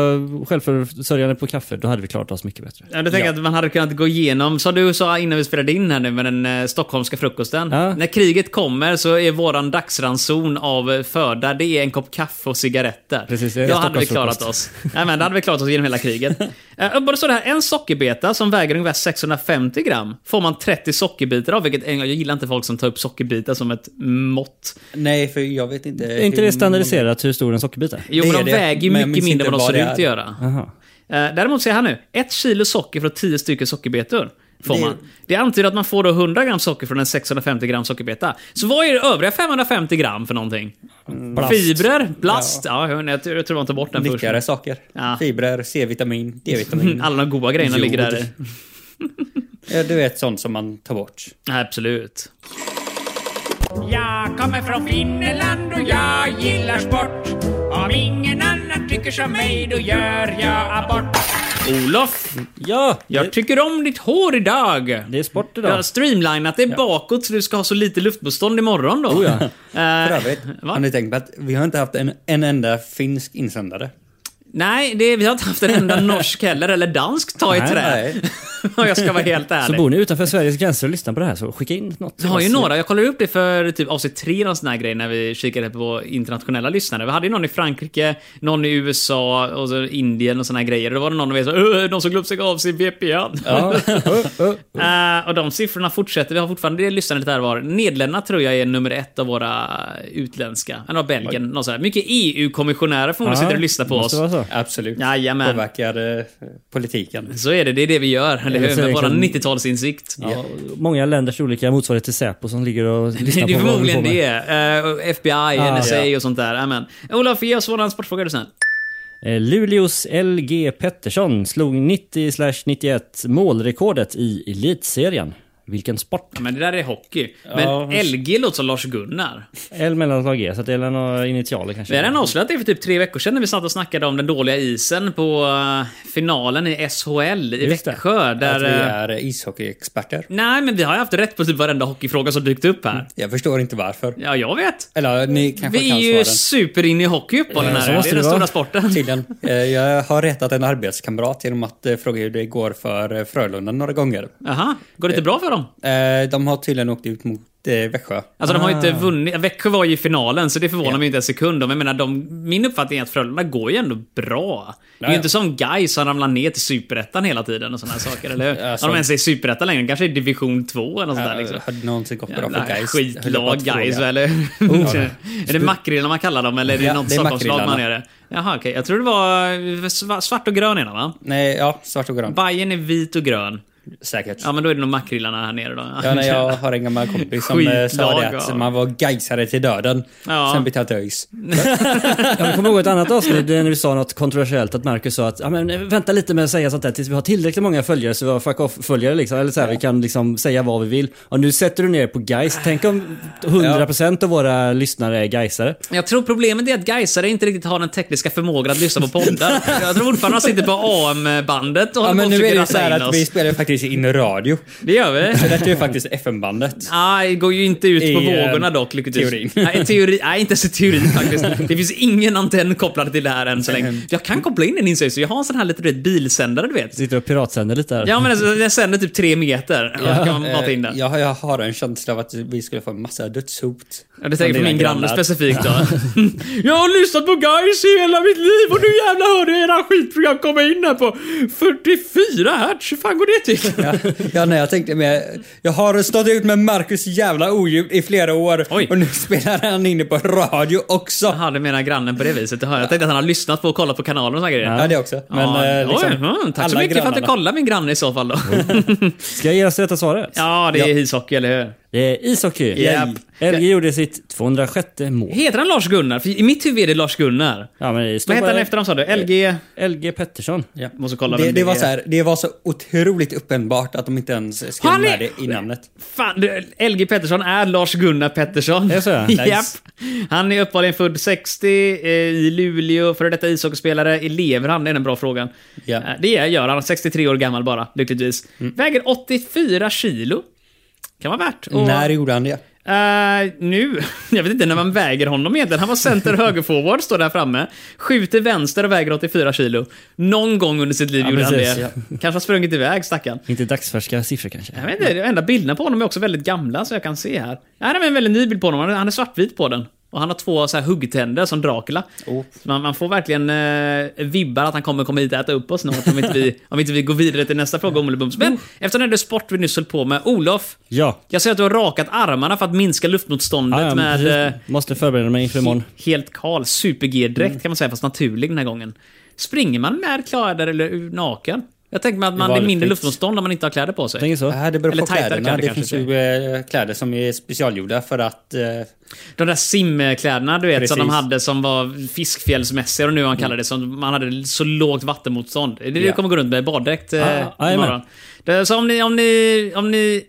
självförsörjande på kaffe, då hade vi klarat oss mycket bättre. Ja, du tänker jag att man hade kunnat gå igenom, som du sa innan vi spelade in här nu med den eh, stockholmska frukosten. Ja. När kriget kommer så är våran dagsranson av eh, föda, det är en kopp kaffe och cigaretter. Precis, det är Då hade vi Stockholmsfrukost. klarat oss. Nej, men då hade vi klarat oss genom hela kriget. Eh, Bara så det här, en sockerbeta som väger ungefär 650 gram får man 30 sockerbitar av, vilket en- jag gillar inte folk som tar upp sockerbitar som ett mått. Nej, för jag vet inte... Är inte det standardiserat hur stor en sockerbit är? Jo, Det men är de det, väger ju men jag mycket minns mindre än inte vad de vad ser det ut att är. göra. Aha. Eh, Däremot ser jag här nu, ett kilo socker från 10 stycken sockerbetor. Får man. Det antyder att man får då 100 gram socker från en 650 gram sockerbeta. Så vad är det övriga 550 gram för någonting? Plast. Fibrer? Plast? Ja, jag, jag tror jag tror man tar bort den först. Nyttigare saker. Ja. Fibrer, C-vitamin, D-vitamin. Alla de goda grejerna Jod. ligger där i. ja, du vet, sånt som man tar bort. Nej, Absolut. Jag kommer från Finland och jag gillar sport. Om ingen annan tycker som mig då gör jag abort. Olof, Ja! jag tycker om ditt hår idag. Det är sport Jag har idag. streamlinat det bakåt så du ska ha så lite luftmotstånd imorgon då. Oh ja. För övrigt, va? har ni tänkt på att vi har inte haft en, en enda finsk insändare? Nej, det, vi har inte haft en enda norsk heller, eller dansk ta i Nej, trä. nej. Om jag ska vara helt ärlig. Så bor ni utanför Sveriges gränser och lyssnar på det här så skicka in något. Vi har ju några, jag kollade upp det för typ avsnitt tre någon sån här grej när vi kikade på internationella lyssnare. Vi hade ju någon i Frankrike, någon i USA och så Indien och såna här grejer. Då var det någon av er som "Öh, de som glömt sig av sin VPN. Eh, och de siffrorna fortsätter, vi har fortfarande lyssnare lite här var. Nederländerna tror jag är nummer ett av våra utländska, eller Belgien, någon sån här. Mycket EU-kommissionärer förmodligen sitter och lyssnar på oss. Måste vara så. Absolut. Jajamän. Påverkar eh, politiken. Så är det, det är det vi gör, eller Eller hur? så är Med det våran liksom- 90-talsinsikt. Ja, många länders olika motsvarigheter till Säpo som ligger och Det lyssnar är på vad vi förmodligen får med. Ah, det. Eh, FBI, NSA ja. och sånt där. Amen. Olof, ge oss våran sportfråga du sen. Eh, Luleås LG Pettersson slog 90-91 målrekordet i Elitserien. Vilken sport? Ja, men det där är hockey. Men Ja, men- LG låter som Lars-Gunnar. L mellanslag G, så att det är några initialer kanske. Vi har redan avslöjat det för typ tre veckor sedan när vi satt och snackade om den dåliga isen på eh, finalen i SHL i Just det. Växjö. Att vi Där, eh, är eh, ishockeyexperter. nej, men vi har ju haft rätt på typ varenda hockeyfråga som dykt upp Mm. här. Jag förstår inte varför. Ja, jag vet. Eller ni kanske Vi är kan ju svaren. superinne i hockeyuppehållen Ja, så här. Det måste är den det vara. stora sporten. Tydligen. Eh, Jag har retat en arbetskamrat genom att eh, fråga hur det går för eh, Frölunda några gånger. Aha, går det inte bra för dem? Eh, De har tydligen åkt ut mot eh, Växjö. Alltså de har ju inte vunnit. Växjö var ju i finalen, så det förvånar mig inte en sekund. Men jag menar, de, min uppfattning är att Frölunda går ju ändå bra. Det är ju Ja, ja. inte som Gais som ramlar ner till superettan hela tiden och sådana här saker, eller hur? Alltså- Om de ens är i superettan längre, de kanske är i division 2 eller något sånt där Eh, liksom. Hade någonsin gått bra Jävla för Gais. Höll på skitlag att fråga. Oh. Gais, eller? är det makrillan man kallar dem, eller är det Ja, något det är Stockholmslag man gör makrillarna. det? Jaha, okej. Jag tror det var sva- svart och grön innan, va? Nej, ja, svart och grönt. Bajen är vit och grön. Säkert. Ja, men då är det nog makrillarna här nere då. Ja, nej, jag har en gammal kompis som eh, sa Skitlag, det att ja. man var gaisare till döden. Ja. Sen bytte han till ÖIS. Jag kommer ihåg ett annat avsnitt där vi sa något kontroversiellt att Marcus sa att ja, men, vänta lite med att säga sånt där tills vi har tillräckligt många följare så vi har fuck off-följare liksom. Eller så här, vi kan liksom säga vad vi vill. Och nu sätter du ner på guys. Tänk om 100% av våra lyssnare är gaisare. Jag tror problemet är att Gaisare inte riktigt har den tekniska förmågan att lyssna på poddar. Jag tror fortfarande att de sitter på AM-bandet och Ja, håller på men och nu är det försöker ju så rassa här in att oss. vi spelar faktiskt in radio. Det gör vi. Så detta är ju faktiskt FM-bandet. Nej, går ju inte ut på I, eh, vågorna dock, lyckligtvis. teorin. Nej, teori, nej, inte ens i teorin faktiskt. Det finns ingen antenn kopplad till det här än så länge. Jag kan koppla in den inser jag, så jag har en sån här lite du vet, bilsändare, du vet. Sitter och piratsänder lite där. Ja, men alltså, den sänder typ tre meter. Ja, då kan man mata in den. Eh, Jag, jag har en känsla av att vi skulle få en massa dödshot. Ja, det tänker på Från min dina granne grannar. specifikt då. jag har lyssnat på guys i hela mitt liv och nu jävlar hörde jag era skitprogram komma in här på 44 hertz. Hur fan går det till? Ja, ja, nej, jag tänkte med, jag har stått ut med Marcus jävla oljud i flera år Oj. och nu spelar han inne på radio också. Jaha, du menar grannen på det viset? Jaha, Jag tänkte att han har lyssnat på och kollat på kanalen och såna grejer. Ja, det också. Men, ja, eh, liksom, oj, mm, tack så alla mycket för att du grannarna. Mm. kollade min granne i så fall då. Ska jag ge oss det rätta svaret? ja, det är ishockey, eller hur? Det är ishockey. Japp. LG gjorde sitt 206 mål. Heter han Lars-Gunnar? För I mitt huvud är det Lars-Gunnar. Ja, men det står Vad hette han bara- efter han sa du? LG... LG Pettersson. Ja. Måste kolla det, vem det, det var är. så här, det var så otroligt uppenbart att de inte ens skrev Han är- med det i namnet. Fan, det- LG Pettersson är Lars-Gunnar Pettersson. Är det så? Japp. Nice. Han är uppenbarligen född 60 eh, i Luleå, före detta ishockeyspelare. Lever han? Det är den bra frågan. Ja. Eh, Det är- gör han. 63 år gammal bara, lyckligtvis. Mm. Väger 84 kilo. Kan vara värt. att- När gjorde han det? Eh, nu? Jag vet inte när man väger honom egentligen. Han var center högerforward, står där framme. Skjuter vänster och väger 84 kilo. Någon gång under sitt liv Ja, gjorde precis, han det. ja. Kanske har sprungit iväg, stackarn. Inte dagsfärska siffror kanske. Jag vet inte, de enda bilderna på honom är också väldigt gamla så jag kan se här. Här har vi en väldigt ny bild på honom, Han är- han är svartvit på den. Och han har två så här huggtänder som Dracula. Oh. Så Man, man får verkligen eh, vibbar att han kommer komma hit och äta upp oss snart om inte vi, om inte vi går vidare till nästa fråga om Olle Bums. Oh. Men eftersom det är det sport vi nyss höll på med, Olof. Ja. Jag ser att du har rakat armarna för att minska luftmotståndet Ja, ja, men med eh, precis. Måste förbereda mig inför imorgon. helt kal, super-G-dräkt Mm. kan man säga, fast naturlig den här gången. Springer man med kläder eller naken? Jag tänker mig att man, det är mindre Valfritt. luftmotstånd om man inte har kläder på sig. Tänker så. Ja, det beror Eller på tajtare kläderna. kläder Det kanske finns ju eh, kläder som är specialgjorda för att... eh, De där simkläderna du vet, som de Precis. hade som var fiskfjällsmässiga och nu Mm. han kallar det som man hade så lågt vattenmotstånd. Det är det du Ja. kommer gå runt med i baddräkt eh, Ah, ah, imorgon. jajamän. Det, så om ni, om ni, om ni...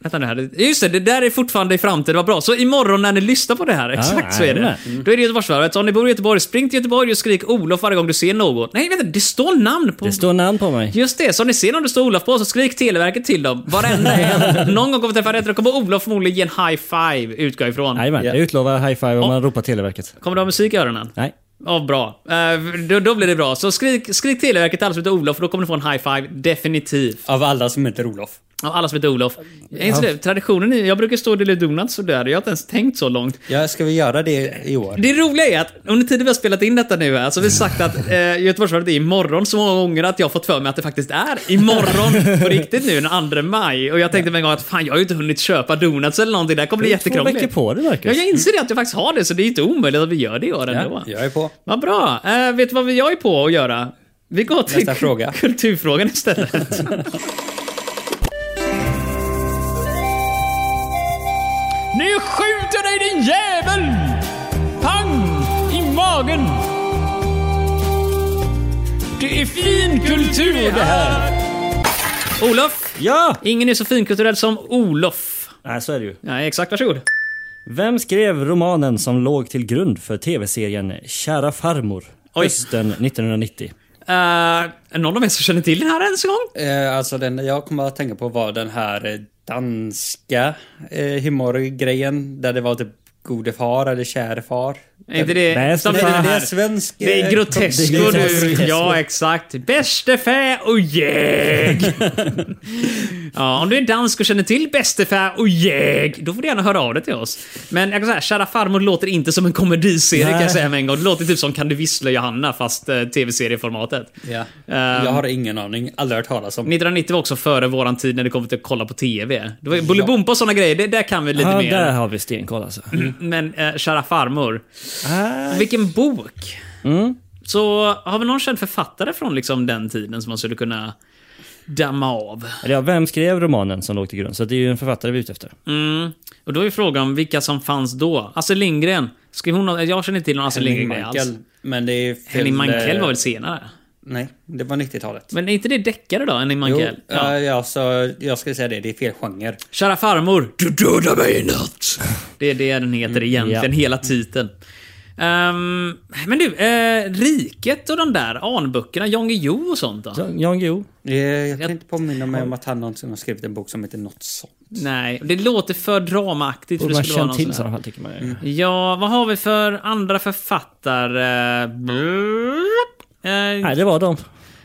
Vänta nu här. Just det, det där är fortfarande i framtiden. Vad bra. Så imorgon när ni lyssnar på det här, exakt så är det. Ah, jajamän. Då är det Göteborgsvarvet. Så om ni bor i Göteborg, spring till Göteborg och skrik Olof varje gång du ser någon. Nej, vänta. Det står namn på... Det står namn på mig. Just det, så om ni ser någon det står Olof på så skrik Televerket till dem. Varenda en. Någon gång kommer vi träffa rätt och då kommer Olof förmodligen ge en high five, utgår jag ifrån. Jajamän, Ja. jag utlovar high five om man ropar Televerket. Kommer du ha musik i öronen? Nej. Ja, bra. Eh, då, då blir det bra. Så skrik, skrik Televerket till alla som heter Olof, för då kommer du få en high five. Definitivt. av alla som heter Olof. Av alla som heter Olof. Är inte det, traditionen är, jag brukar stå och dela ut donuts och där, jag har inte ens tänkt så långt. Ja, ska vi göra det i år? Det roliga är att under tiden vi har spelat in detta nu här, så har vi sagt att eh, Göteborgsvarvet är imorgon så många gånger att jag har fått för mig att det faktiskt är imorgon på riktigt nu den 2 maj. Och jag tänkte mig en gång att fan, jag har ju inte hunnit köpa donuts eller någonting, det här kommer bli Två jättekrångligt. veckor på det Ja, Marcus. jag inser det att jag faktiskt har det, så det är inte omöjligt att vi gör det i år ändå. Ja, jag är på. Vad bra. Eh, vet du vad jag är på att göra? Vi går till Nästa fråga. kulturfrågan istället. Nu skjuter dig din jävel! Pang! I magen! Det är fin kultur det här! Olof! Ja! Ingen är så finkulturell som Olof. Nej, så är det ju. Nej, exakt. Varsågod. Eh, Vem skrev romanen som låg till grund för tv-serien Kära farmor? Oj. Hösten 1990. Eh, någon av er som känner till den här ens en gång? Eh, alltså den jag kommer att tänka på var den här eh, danska eh, humorgrejen där det var typ gode far eller käre far. Är inte det... Nej, utan det- är det är här. svensk, Det är eh, grotesko det är nu. grotesko. Ja, exakt. Bäste fä och jäg. ja, om du är dansk och känner till bäste fä och jäg, då får du gärna höra av dig till oss. Men jag kan säga, Kära farmor låter inte som en komediserie kan jag säga med en gång. Det låter typ som Kan du vissla Johanna, fast eh, tv-serieformatet. Ja. Ehm, jag har ingen aning, aldrig hört talas om. 1990 var också före våran tid när det kom till att kolla på TV. Det var ju Bolibompa och såna grejer, det, där kan vi lite Ja, mer. där har vi stenkoll alltså. Mm. Men eh, Kära farmor. Äh. Vilken bok! Mm. Så har vi någon känd författare från liksom den tiden som man skulle kunna damma av? Eller ja, vem skrev romanen som låg till grund? Så det är ju en författare vi är ute efter. Mm. Och då är frågan vilka som fanns då. Astrid Lindgren. Skrev hon något? Jag känner inte till någon Astrid Henning Lindgren alls. Mankell. Men det är fel, Henning Mankell eh, var väl senare? Nej, det var 90-talet. Men är inte det deckare då, Henning Jo, Mankell? Ja. ja. Ja, så jag skulle säga det, det är fel genre. Kära farmor, du dödar mig i natt. Det är det den heter egentligen, Mm, ja. hela titeln. Ehm, men du, eh, Riket och de där anböckerna, Jan Guillou och sånt då? Så, Jan Guillou. Eh, Jag kan inte påminna mig om att han någonsin har skrivit en bok som heter något sånt. Nej, det låter för dramaaktigt. för Borde det man skulle vara känt någon till i sån här. Mm. sådana fall tycker man ju. Ja, vad har vi för andra författare? Eh, Nej, det var de.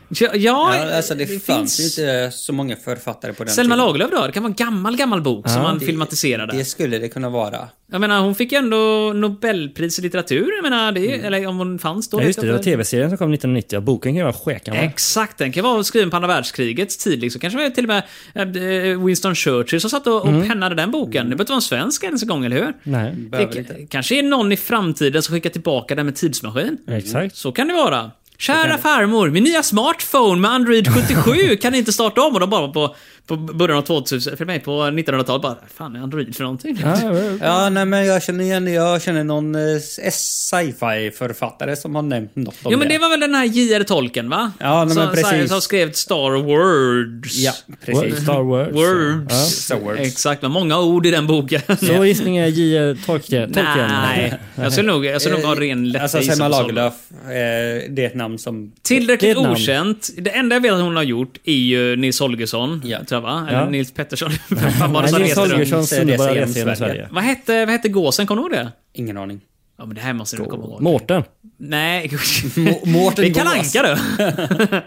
ja, Ja, alltså det, fanns ju inte så många författare på den Selma tiden. Lagerlöf då? Det kan vara en gammal, gammal bok som man Det- filmatiserade. Det skulle det kunna vara. Jag menar, hon fick ju ändå Nobelpris i litteratur. Jag menar, det, eller om hon fanns då. Mm. Ja, vet just det, jag det var inte. tv-serien som kom 1990 och boken kan ju vara Skäkan va? Exakt, den kan vara skriven på andra världskrigets tid. Liksom. Kanske var det till och med eh, Winston Churchill som satt och, Mm. och pennade den boken. Det behöver inte vara en svensk ens en gång, eller hur? Nej, Det Behöver inte. k- kanske är någon i framtiden som skickar tillbaka den med tidsmaskin. exakt. Så kan det vara. Kära farmor, min nya smartphone med Android 77 kan inte starta om. Och de bara på, på början av 2000, för mig på 1900-talet bara, fan är Android för någonting? Ja, nej men jag känner igen det. Jag känner någon eh, sci-fi författare som har nämnt något om Jo men det var väl den här J.R. Tolkien va? Ja, nej, men som, precis. Som skrev Star Words. Ja, precis. Star Wars. Words. Star Wars. Exakt, det var många ord i den boken. Så vår gissning är J.R. Tolkien. Tolkien. Nej, jag skulle nog, jag skulle nog ha ren lättja Alltså gissning Selma på Lagerlöf, eh, det är ett namn som... Det är ett Tillräckligt namn. okänt. Det enda jag vet att hon har gjort är ju Nils Holgersson, Ja. tror jag va? Eller Ja. Nils Pettersson. Vem fan var det Nej, som Nils heter Holgersson. Holgersson. Holgerssons Inte underbara resa genom resa genom Sverige. Sverige. Vad hette, vad hette gåsen? Kommer du ihåg det? Ingen aning. Ja men det här måste du komma ihåg. Mårten. Nej. Må- Mårten det är Kalle Gås. Anka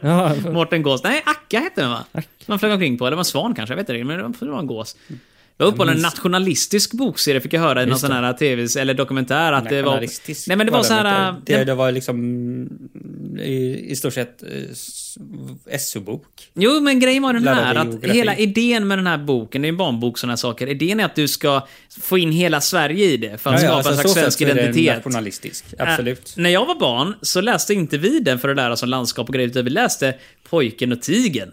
du. Ja, Mårten Gås. Nej, Akka hette den va? Man flög omkring på. Eller det var en svan kanske, jag vet inte riktigt, Men det var en gås. Mm. Det var uppehållen en nationalistisk bokserie fick jag höra i någon sån här tv eller dokumentär att det var... Nationalistisk Nej men det var så här... äh, inte. Det, det var liksom mm, i, i stort sett eh, s- SO-bok. Jo, men grejen var den Lära här dig att geografi. hela idén med den här boken, det är en barnbok och sådana här saker. Idén är att du ska få in hela Sverige i det för att skapa en slags Alltså, så alltså svensk sätt så är det identitet. Nationalistisk, absolut. Äh, när jag var barn så läste inte vi den för att lära oss om landskap och grejer, utan vi läste Pojken och tigern.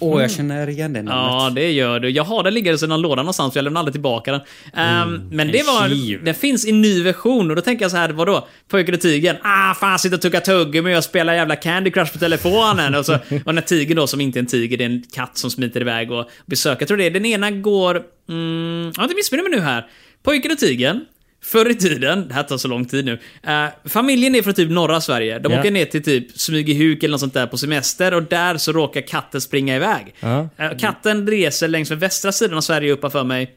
Åh, jag känner igen det namnet. Mm. Ja, det gör du. Jag har den liggande i någon låda någonstans, för jag lämnar aldrig tillbaka den. Ehm, men det en var... kiv. Den finns i ny version och då tänker jag så här, vadå? Pojken och tigern. Ah, fan, sitter och tuggar tuggummi och jag spelar jävla Candy Crush på telefonen. och, så, och när tigern då, som inte är en tiger, det är en katt som smiter iväg och besöker. Jag tror det är den ena går... Mm, jag har inte missminner mig nu här. Pojken och tigern. Förr i tiden, det här tar så lång tid nu. eh, familjen är från typ norra Sverige. De Ja. åker ner till typ Smygehuk eller något sånt där på semester och där så råkar katten springa iväg. Ja. Eh, Katten reser längs med västra sidan av Sverige upp har för mig.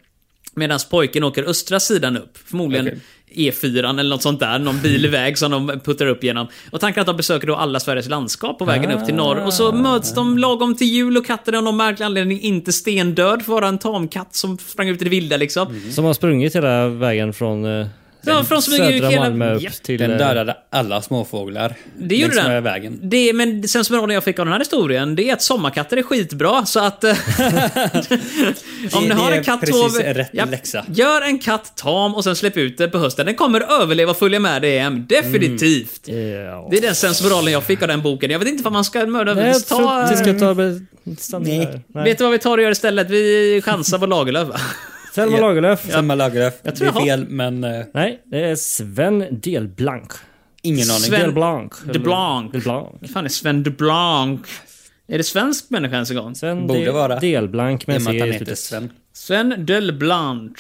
Medan pojken åker östra sidan upp. Förmodligen E4 eller något sånt där. Någon bilväg som de puttar upp genom. Och tanken är att de besöker då alla Sveriges landskap på vägen upp till norr. Och så möts de lagom till jul och katten är av någon märklig anledning inte stendöd för att vara en tamkatt som sprang ut i det vilda liksom. Som har sprungit hela vägen från, eh, Ja, från Smygehuk södra hela- Malmö upp Japp. till... Den eh, dödade alla småfåglar. Det gjorde längs den. med vägen. Det, men sen som jag fick av den här historien, det är att sommarkatter är skitbra. Så att... eh, om Det- ni har det är en katt precis två- rätt läxa. Gör en katt tam och sen släpp ut den på hösten. Den kommer överleva och följa med dig hem. Mm. Definitivt. ja. Det är den sensmoralen jag fick av den boken. Jag vet inte vad man ska mörda Nej, jag ta... tror inte vi ska ta... be- stanna Nej. där. Nej. Vet du vad vi tar och gör istället? Vi chansar på Lagerlöf va? Selma Lagerlöf. Selma Lagerlöf. Det tror jag är har- fel, men eh, Nej, det är Sven Delblanc. ingen aning. Sven- Delblanc. Delblanc. Delblanc. Vad fan är Sven DeBlanc? Är det svensk människa ens en gång? Sven Borde Del- vara. Delblanc I med och med C att han i heter slutet. Sven. Sven DeBlanc.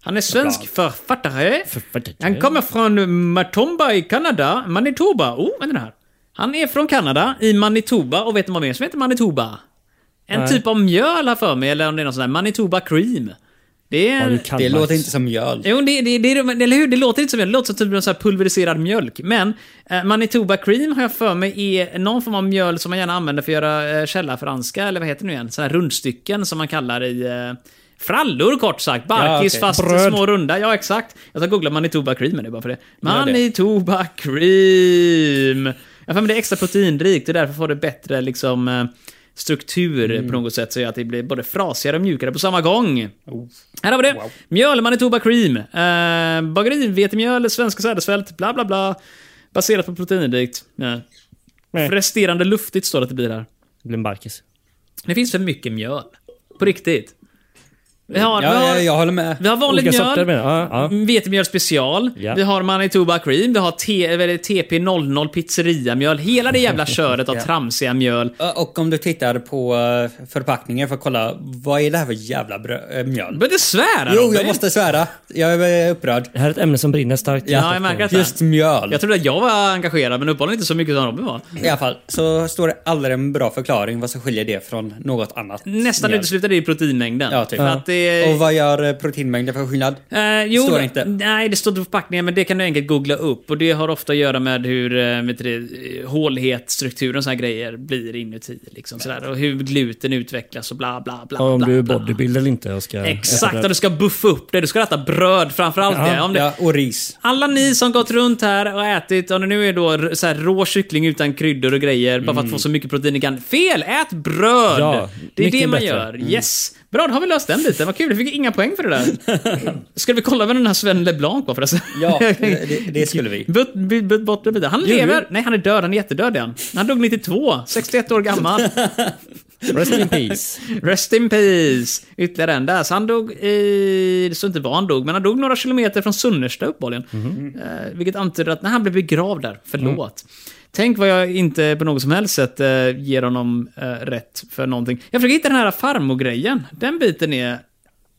Han är svensk författare. Han kommer från Matomba i Kanada, Manitoba. Oh, vänta här. Han är från Kanada, i Manitoba, och vet ni vad mer som heter Manitoba? En Nej. typ av mjöl här för mig, eller om det är någon sån där Manitoba cream. Det är... Ja, du Det kan, Max. låter inte som mjöl. Jo, det, det, det, det, eller hur? Det låter inte som mjöl. Det låter som typ av så här pulveriserad mjölk. Men eh, Manitoba cream har jag för mig är någon form av mjöl som man gärna använder för att göra eh, källarfranska, eller vad heter det nu igen? Sådana här rundstycken som man kallar i... Eh, frallor kort sagt. Barkis okej. fast Bröd. små runda. Ja, exakt. Jag ska googla Manitoba cream nu bara för det. Gör det. Manitoba cream! Jag har för mig det är extra proteindrikt och därför får det bättre liksom eh, struktur på något sätt så gör att det blir både frasigare och mjukare på samma gång. Här har vi det. Mjöl, Manitoba cream. Eh, bageri, vetemjöl, svenska sädesfält, bla bla bla. Baserat på proteindrikt. Eh, Nej. Resterande luftigt står det att det blir här. Det blir en barkis. Det finns för mycket mjöl. På riktigt. Vi har, vi Ja, har, jag, jag håller med. vi har vanligt Olika mjöl. sorter menar jag. Ja, ja. Mm, Vetemjöl special. Ja. Vi har Manitoba cream. Vi har T- eh, eller TP00 pizzeriamjöl. Hela det jävla köret av tramsiga mjöl. Ö, Och om du tittar på eh, förpackningen för att kolla, vad är det här för jävla brö- äh, mjöl? Men det svärar Jo, Robin. jag måste svära. Jag är eh, upprörd. Det här är ett ämne som brinner starkt. Ja, jag märker att Just mjöl. Jag trodde att jag var engagerad, men uppenbarligen inte så mycket som Robin var. I alla fall, så står det aldrig en bra förklaring vad som skiljer det från något annat. Nästan mjöl. uteslutande i proteinmängden. Ja, typ. För att det... Och vad gör eh, proteinmängden för skillnad? Eh, jo, Står det inte. Nej, det står inte på förpackningen, men det kan du enkelt googla upp. Och Det har ofta att göra med hur eh, vet du det, eh, hålighet, struktur och såna här grejer blir inuti. Liksom, sådär. Och hur gluten utvecklas och bla bla bla. Om bla, du är bla. bodybuilder eller inte. Jag ska Exakt, och du ska buffa upp det. Du ska äta bröd framförallt. Ja, om det, Ja, och ris. alla ni som gått runt här och ätit, om det nu är då r- så här, rå kyckling utan kryddor och grejer, bara för att få så mycket protein ni kan. Fel! Ät bröd! Ja, det är mycket det man bättre. gör. Yes! Bra, då har vi löst den biten. Vad kul, jag fick inga poäng för det där. Ska vi kolla vem den här Sven LeBlanc var förresten? Ja, det, det skulle vi. Butt, butt, butt, butt, butt. Han lever! Nej, han är död. Han är jättedöd igen. Han dog 92, 61 år gammal. Rest in peace. Rest in peace! Ytterligare en där. Så han dog i... Det står inte var han dog, men han dog några kilometer från Sunnersta uppehållligen. Mm-hmm. Eh, vilket antyder att när han blev begravd där, förlåt. Mm. Tänk vad jag inte på något som helst sätt eh, ger honom eh, rätt för någonting. Jag försöker hitta den här farmor-grejen. Den biten är...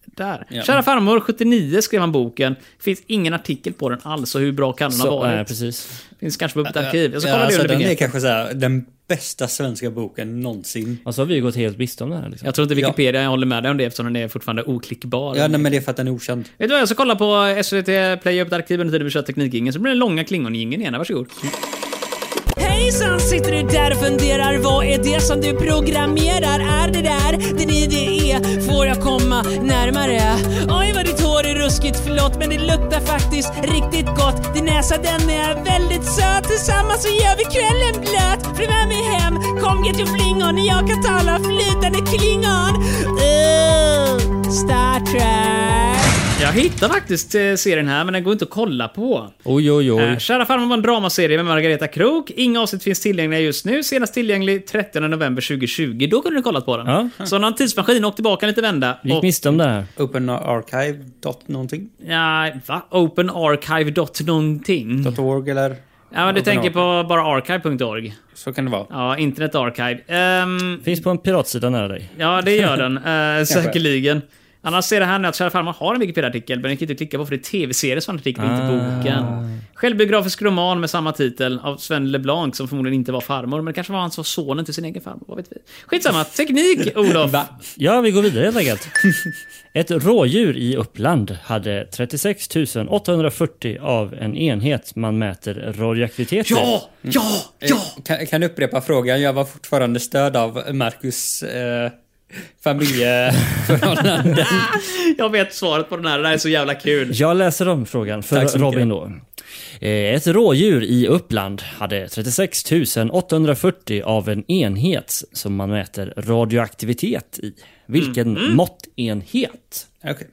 Där. Ja. Kära farmor, 79 skrev han boken. Finns ingen artikel på den alls, så hur bra kan den ha Så, varit? nej, precis. Finns kanske på ett arkiv. Jag ska eh, kolla Ja, det alltså, under den Wikipedia. är kanske så här, den bästa svenska boken någonsin. Alltså har vi gått helt miste om det här liksom. Jag tror inte Wikipedia håller med dig om det eftersom den är fortfarande oklickbar. Ja, nej, men det är för att den är okänd. Vet du vad, jag ska kolla på SVT Play upp ett arkiv under tiden vi kör teknikingen så blir det långa klingonjingeln igen. Varsågod. Hejsan, sitter du där och funderar? Vad är det som du programmerar? Är det där din idé? Får jag komma närmare? Oj, vad ditt hår är ruskigt, förlåt, men det luktar faktiskt riktigt gott. Din näsa, den är väldigt söt. Tillsammans så gör vi kvällen blöt. Följ med mig hem, kom get your flingon. Jag kan tala flytande klingon. Uh, Star Trek. Jag hittar faktiskt eh, serien här, men den går inte att kolla på. Oj, oj, Eh, oj. Kära farmor var en dramaserie med Margareta Krook. Inga avsnitt finns tillgängliga just nu. Senast tillgänglig 30 november 2020. Då kunde du kollat på den. Ja. Så någon tidsmaskin åkte tillbaka en liten vända. Vi gick och- miste om det här. Open Archive dot någonting. Ja, va? Openarchive.någonting. Dot .org eller Ja, men du Open tänker på bara archive.org. så kan det vara. Ja, Internet Archive. Ehm, Finns på en piratsida nära dig. Ja, det gör den. Eh, säkerligen. Annars ser det här nu att Kära farmor har en Wikipedia-artikel, men den kan inte klicka på för det är tv-serier som artikeln, inte Ah. boken. Självbiografisk roman med samma titel av Sven LeBlanc, som förmodligen inte var farmor, men det kanske var han som var sonen till sin egen farmor. Vad vet vi? Skitsamma. Teknik, Olof. Ja, vi går vidare helt enkelt. Ett rådjur i Uppland hade 36 840 av en enhet man mäter radioaktiviteter. Ja! Ja! Ja! Eh, Kan, kan du upprepa frågan? Jag var fortfarande stöd av Marcus eh, familjeförhållanden. Jag vet svaret på den här. Det här är så jävla kul. Jag läser om frågan Tack så för Robin då. Eh, Ett rådjur i Uppland hade 36 840 av en enhet som man mäter radioaktivitet i. Vilken Mm. måttenhet? Okej.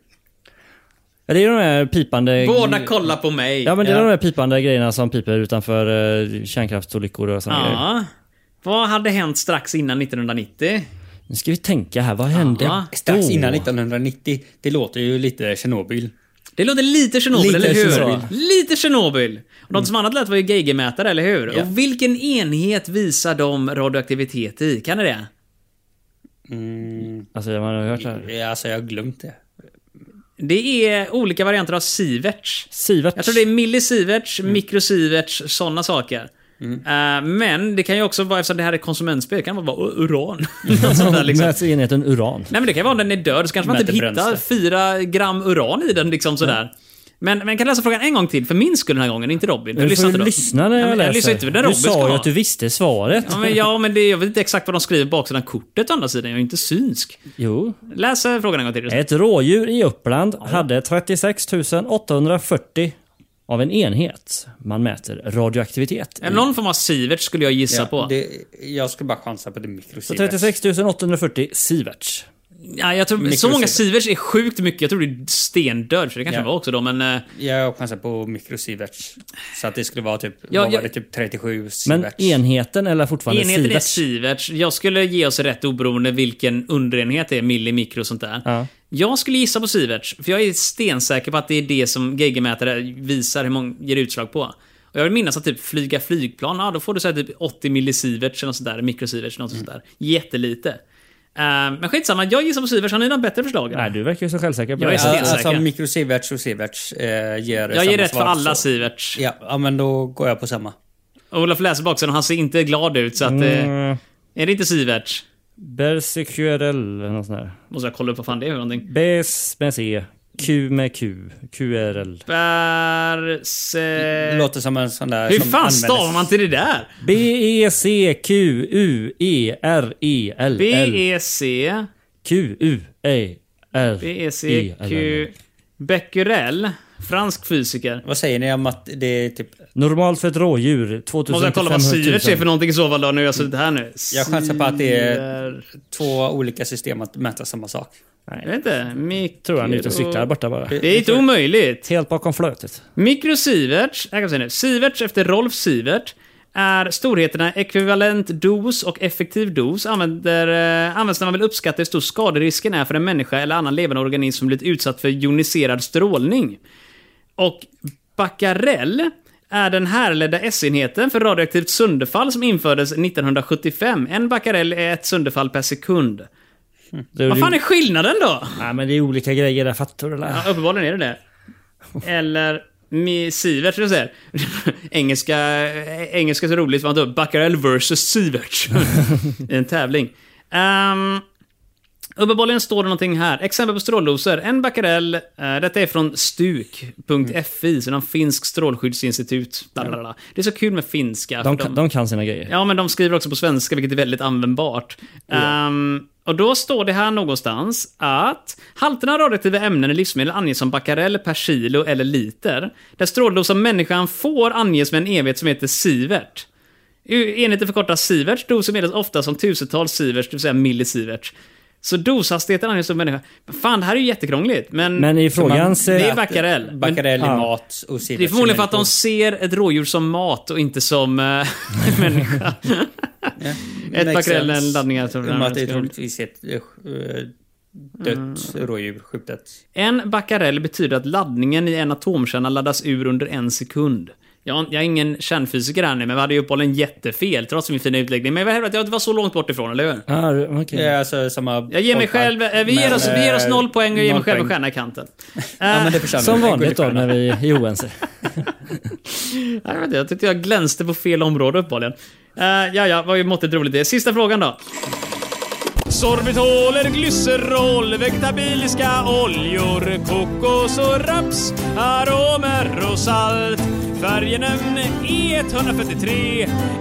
Ja, det är de här pipande... Båda kollar på mig. Ja men det är Ja. de här pipande grejerna som piper utanför eh, kärnkraftsolyckor och sådana grejer. Ja. Vad hade hänt strax innan 1990? Nu ska vi tänka här, vad hände Ja. Strax då? innan 1990. Det låter ju lite Tjernobyl. Det låter lite Tjernobyl, Lite eller hur? Tjernobyl. Lite Tjernobyl. Och något som annat lät var ju geigermätare, eller hur? Ja. Och vilken enhet visar de radioaktivitet i? Kan ni det? Alltså man har hört det här. Ja, Alltså jag har glömt det. Det är olika varianter av sieverts. Sivert. Jag tror det är millisieverts, Mm. mikrosieverts, sådana saker. Eh, men det kan ju också vara, eftersom det här är konsumentspel, det kan vara bara uran. Något sånt där, liksom. Mäts enheten uran. Nej men det kan ju vara om den är död, så kanske man Mäter typ hittar bränsle. fyra gram uran i den liksom sådär. Men, men kan jag läsa frågan en gång till? För min skull den här gången, inte Robin. Du får lyssnar ju inte då. lyssna när Ja, jag men läser. Jag lyssnar inte, för den du Robin ska sa ju ha. att du visste svaret. Ja, men, ja, men det, jag vet inte exakt vad de skriver på baksidan av kortet å andra sidan. Jag är ju inte synsk. Jo. Läs eh, frågan en gång till. Ett rådjur i Uppland hade 36 840 av en enhet man mäter radioaktivitet i. Någon form av Sivert skulle jag gissa Ja, på. det jag skulle bara chansa på det mikrosivers. Så 36 840 sieverts. Ja, jag tror, så Mikrosivert. många Siverts är sjukt mycket. Jag tror det är stendöd, för det kanske Ja. var också då, men... eh, Jag chansar på mikrosivers. Så att det skulle vara typ, Ja, vad jag- var det, typ 37 Men sieverts. enheten eller fortfarande Enheten är sieverts? Siverts. Jag skulle ge oss rätt oberoende vilken underenhet det är, milli, mikro och sånt där. Ja. Jag skulle gissa på Siverts, för jag är stensäker på att det är det som geigermätare visar hur många ger utslag på. Och jag vill minnas att typ flyga flygplan, ja, då får du säga typ 80 millisieverts eller något sånt där, mikrosieverts eller något sånt där. Jättelite. Eh, men skitsamma, jag gissar på Siverts. Har ni några bättre förslag? Nej, du verkar ju så självsäker på Jag är det. Ja, stensäker. alltså mikrosieverts och sieverts eh, ger jag samma ger rätt för svar, alla så- Siverts. Ja, ja, men då går jag på samma. Olof läser baksidan och han ser inte glad ut, så att... Eh, Mm, är det inte Siverts? Bersequerel eller något sånt där. Måste jag kolla upp vad fan det är för någonting. Bes med C. Q med Q. QRL. Berse... Det låter som en sån där Hur som fan användes- stavar man till det där? E E B-E-C-Q-U-E-R-E-L-L. B-E-C... Q-U-E-R. E B-E-C-Q... E Becquerel? Fransk fysiker. Vad säger ni om att det är typ... Normalt för ett rådjur, 2000 Måste jag kolla vad 500 000. Sivert är för någonting i så fall då, nu har jag suttit här nu. Jag chansar på att det är- Sivert- Två olika system att mäta samma sak. Jag vet inte. Mik- Tror han är ute och cyklar borta bara. Det är inte omöjligt. Helt bakom flötet. Mikrosiverts, jag kan säga nu, Siverts efter Rolf Sivert, är storheterna ekvivalent dos och effektiv dos använder, eh, används när man vill uppskatta hur stor skaderisken är för en människa eller annan levande organism som blivit utsatt för joniserad strålning. Och Becquerel är den härledda S-enheten för radioaktivt sönderfall som infördes 1975. En becquerel är ett sönderfall per sekund. Det är Vad fan är skillnaden då? Nej, men det är olika grejer där, fattar du eller? Ja, uppenbarligen är det det. Eller Mi- Sivert, som du säger. engelska, eh, engelska är så roligt, man tar upp Baccarel vs Sivert. I en tävling. Um, uppenbarligen står det någonting här. Exempel på stråldoser. En becquerel, eh, detta är från Mm. stuk.fi, så någon finsk strålskyddsinstitut. Bla, bla, bla. Det är så kul med finska. De för kan, de kan sina grejer. Ja, men de skriver också på svenska, vilket är väldigt användbart. Ehm, och då står det här någonstans att halterna av radioaktiva ämnen i livsmedel anges som becquerel per kilo eller liter. Där stråldos som människan får anges med en enhet som heter sievert. U- Enheten förkortas sievert, doser meddelas ofta som tusentals sieverts, det vill säga millisievert. Så doshastigheten anges som människa. Fan, det här är ju jättekrångligt, men... Men i man- frågans... det eh, är Baccarel. Men- Becquerel i Ja. mat och det är Sivert förmodligen för att de människor. ser ett rådjur som mat och inte som eh, människa. Ett Makes becquerel är en sense. Mm. laddning. Jag tror I och med att det det är är troligtvis ett eh, Mm. dött rådjur, skjutet. En becquerel betyder att laddningen i en atomkärna laddas ur under en sekund. Jag, jag är ingen kärnfysiker här nu, men vi hade ju uppehållen jättefel trots min fina utläggning. Men jag hävdar att jag inte var så långt bort ifrån, eller hur? Ja, okej. Det är alltså samma... Jag ger mig själv... eh, Vi ger, oss, vi ger oss noll poäng och jag ger mig själv en stjärna i kanten. Eh, Ja, men det förtjänar Som du. En vanligt då guldstjärna. när vi är oense. Jag, vet inte, jag tyckte jag glänste på fel område uppenbarligen. Uh, ja, ja, vad ju måttet roligt det är. Sista frågan då. Sorbitoler, glycerol, vegetabiliska oljor, kokos och raps, aromer och salt. E Färgenämn E143,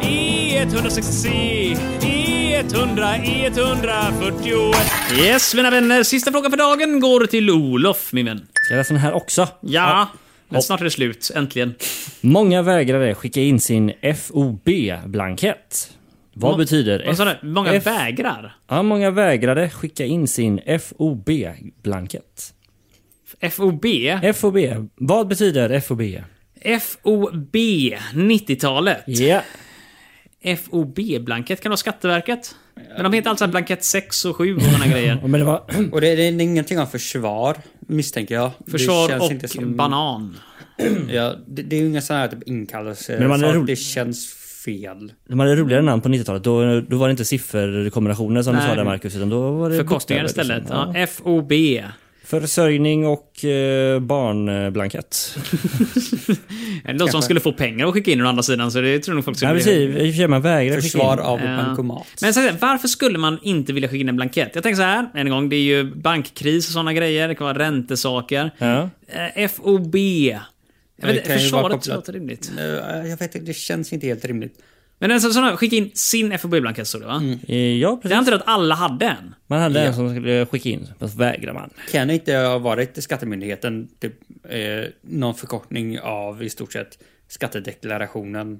E E160C, E E100, E141. Yes, mina vänner. Sista frågan för dagen går till Olof, min vän. Ska jag läsa den här också? Ja, men snart är det slut. Äntligen. Många vägrare skicka in sin FOB-blankett. Vad Må- betyder Vad sa du? Många F- vägrar? Ja, många vägrade skicka in sin FOB-blankett. FOB? FOB. Vad betyder FOB? FOB 90-talet. Ja. FOB-blankett, kan det vara Skatteverket? Men de heter alltså blankett 6 och 7 och såna grejer. Men det var... Och det, det är ingenting om försvar, misstänker jag. Det Försvar känns och inte som- banan. Ja, det, det är ju inga sådana här typ inkallelser. Men man är Saker, rolig. Det känns fel. De hade roligare namn på 90-talet. Då, då var det inte sifferkombinationer som du Nej. sa där Marcus, utan då var det Förkortningar bokstäver, istället. liksom. Ja, FOB. Försörjning och eh, barnblankett. De som skulle få pengar att skicka in å andra sidan, så det tror nog folk Nej skulle precis, bli... i och för sig man vägrar skicka Försvar in. av Ja. bankomat. Men så här, varför skulle man inte vilja skicka in en blankett? Jag tänker så här, en gång, det är ju bankkris och såna grejer, det kan vara räntesaker. Ja. Eh, FOB. Jag vet, Det inte, kan ju vara försvaret kopplat- låter rimligt. Eh, Jag vet inte, det känns inte helt rimligt. Men en sån, sån här, skicka in sin FOB-blankett stod det va? Mm. Eh, Ja, Det är precis. inte att alla hade en. Man hade en som skulle skicka in, fast vägrar man. Kan det inte ha varit Skattemyndigheten, typ, eh, någon förkortning av i stort sett skattedeklarationen?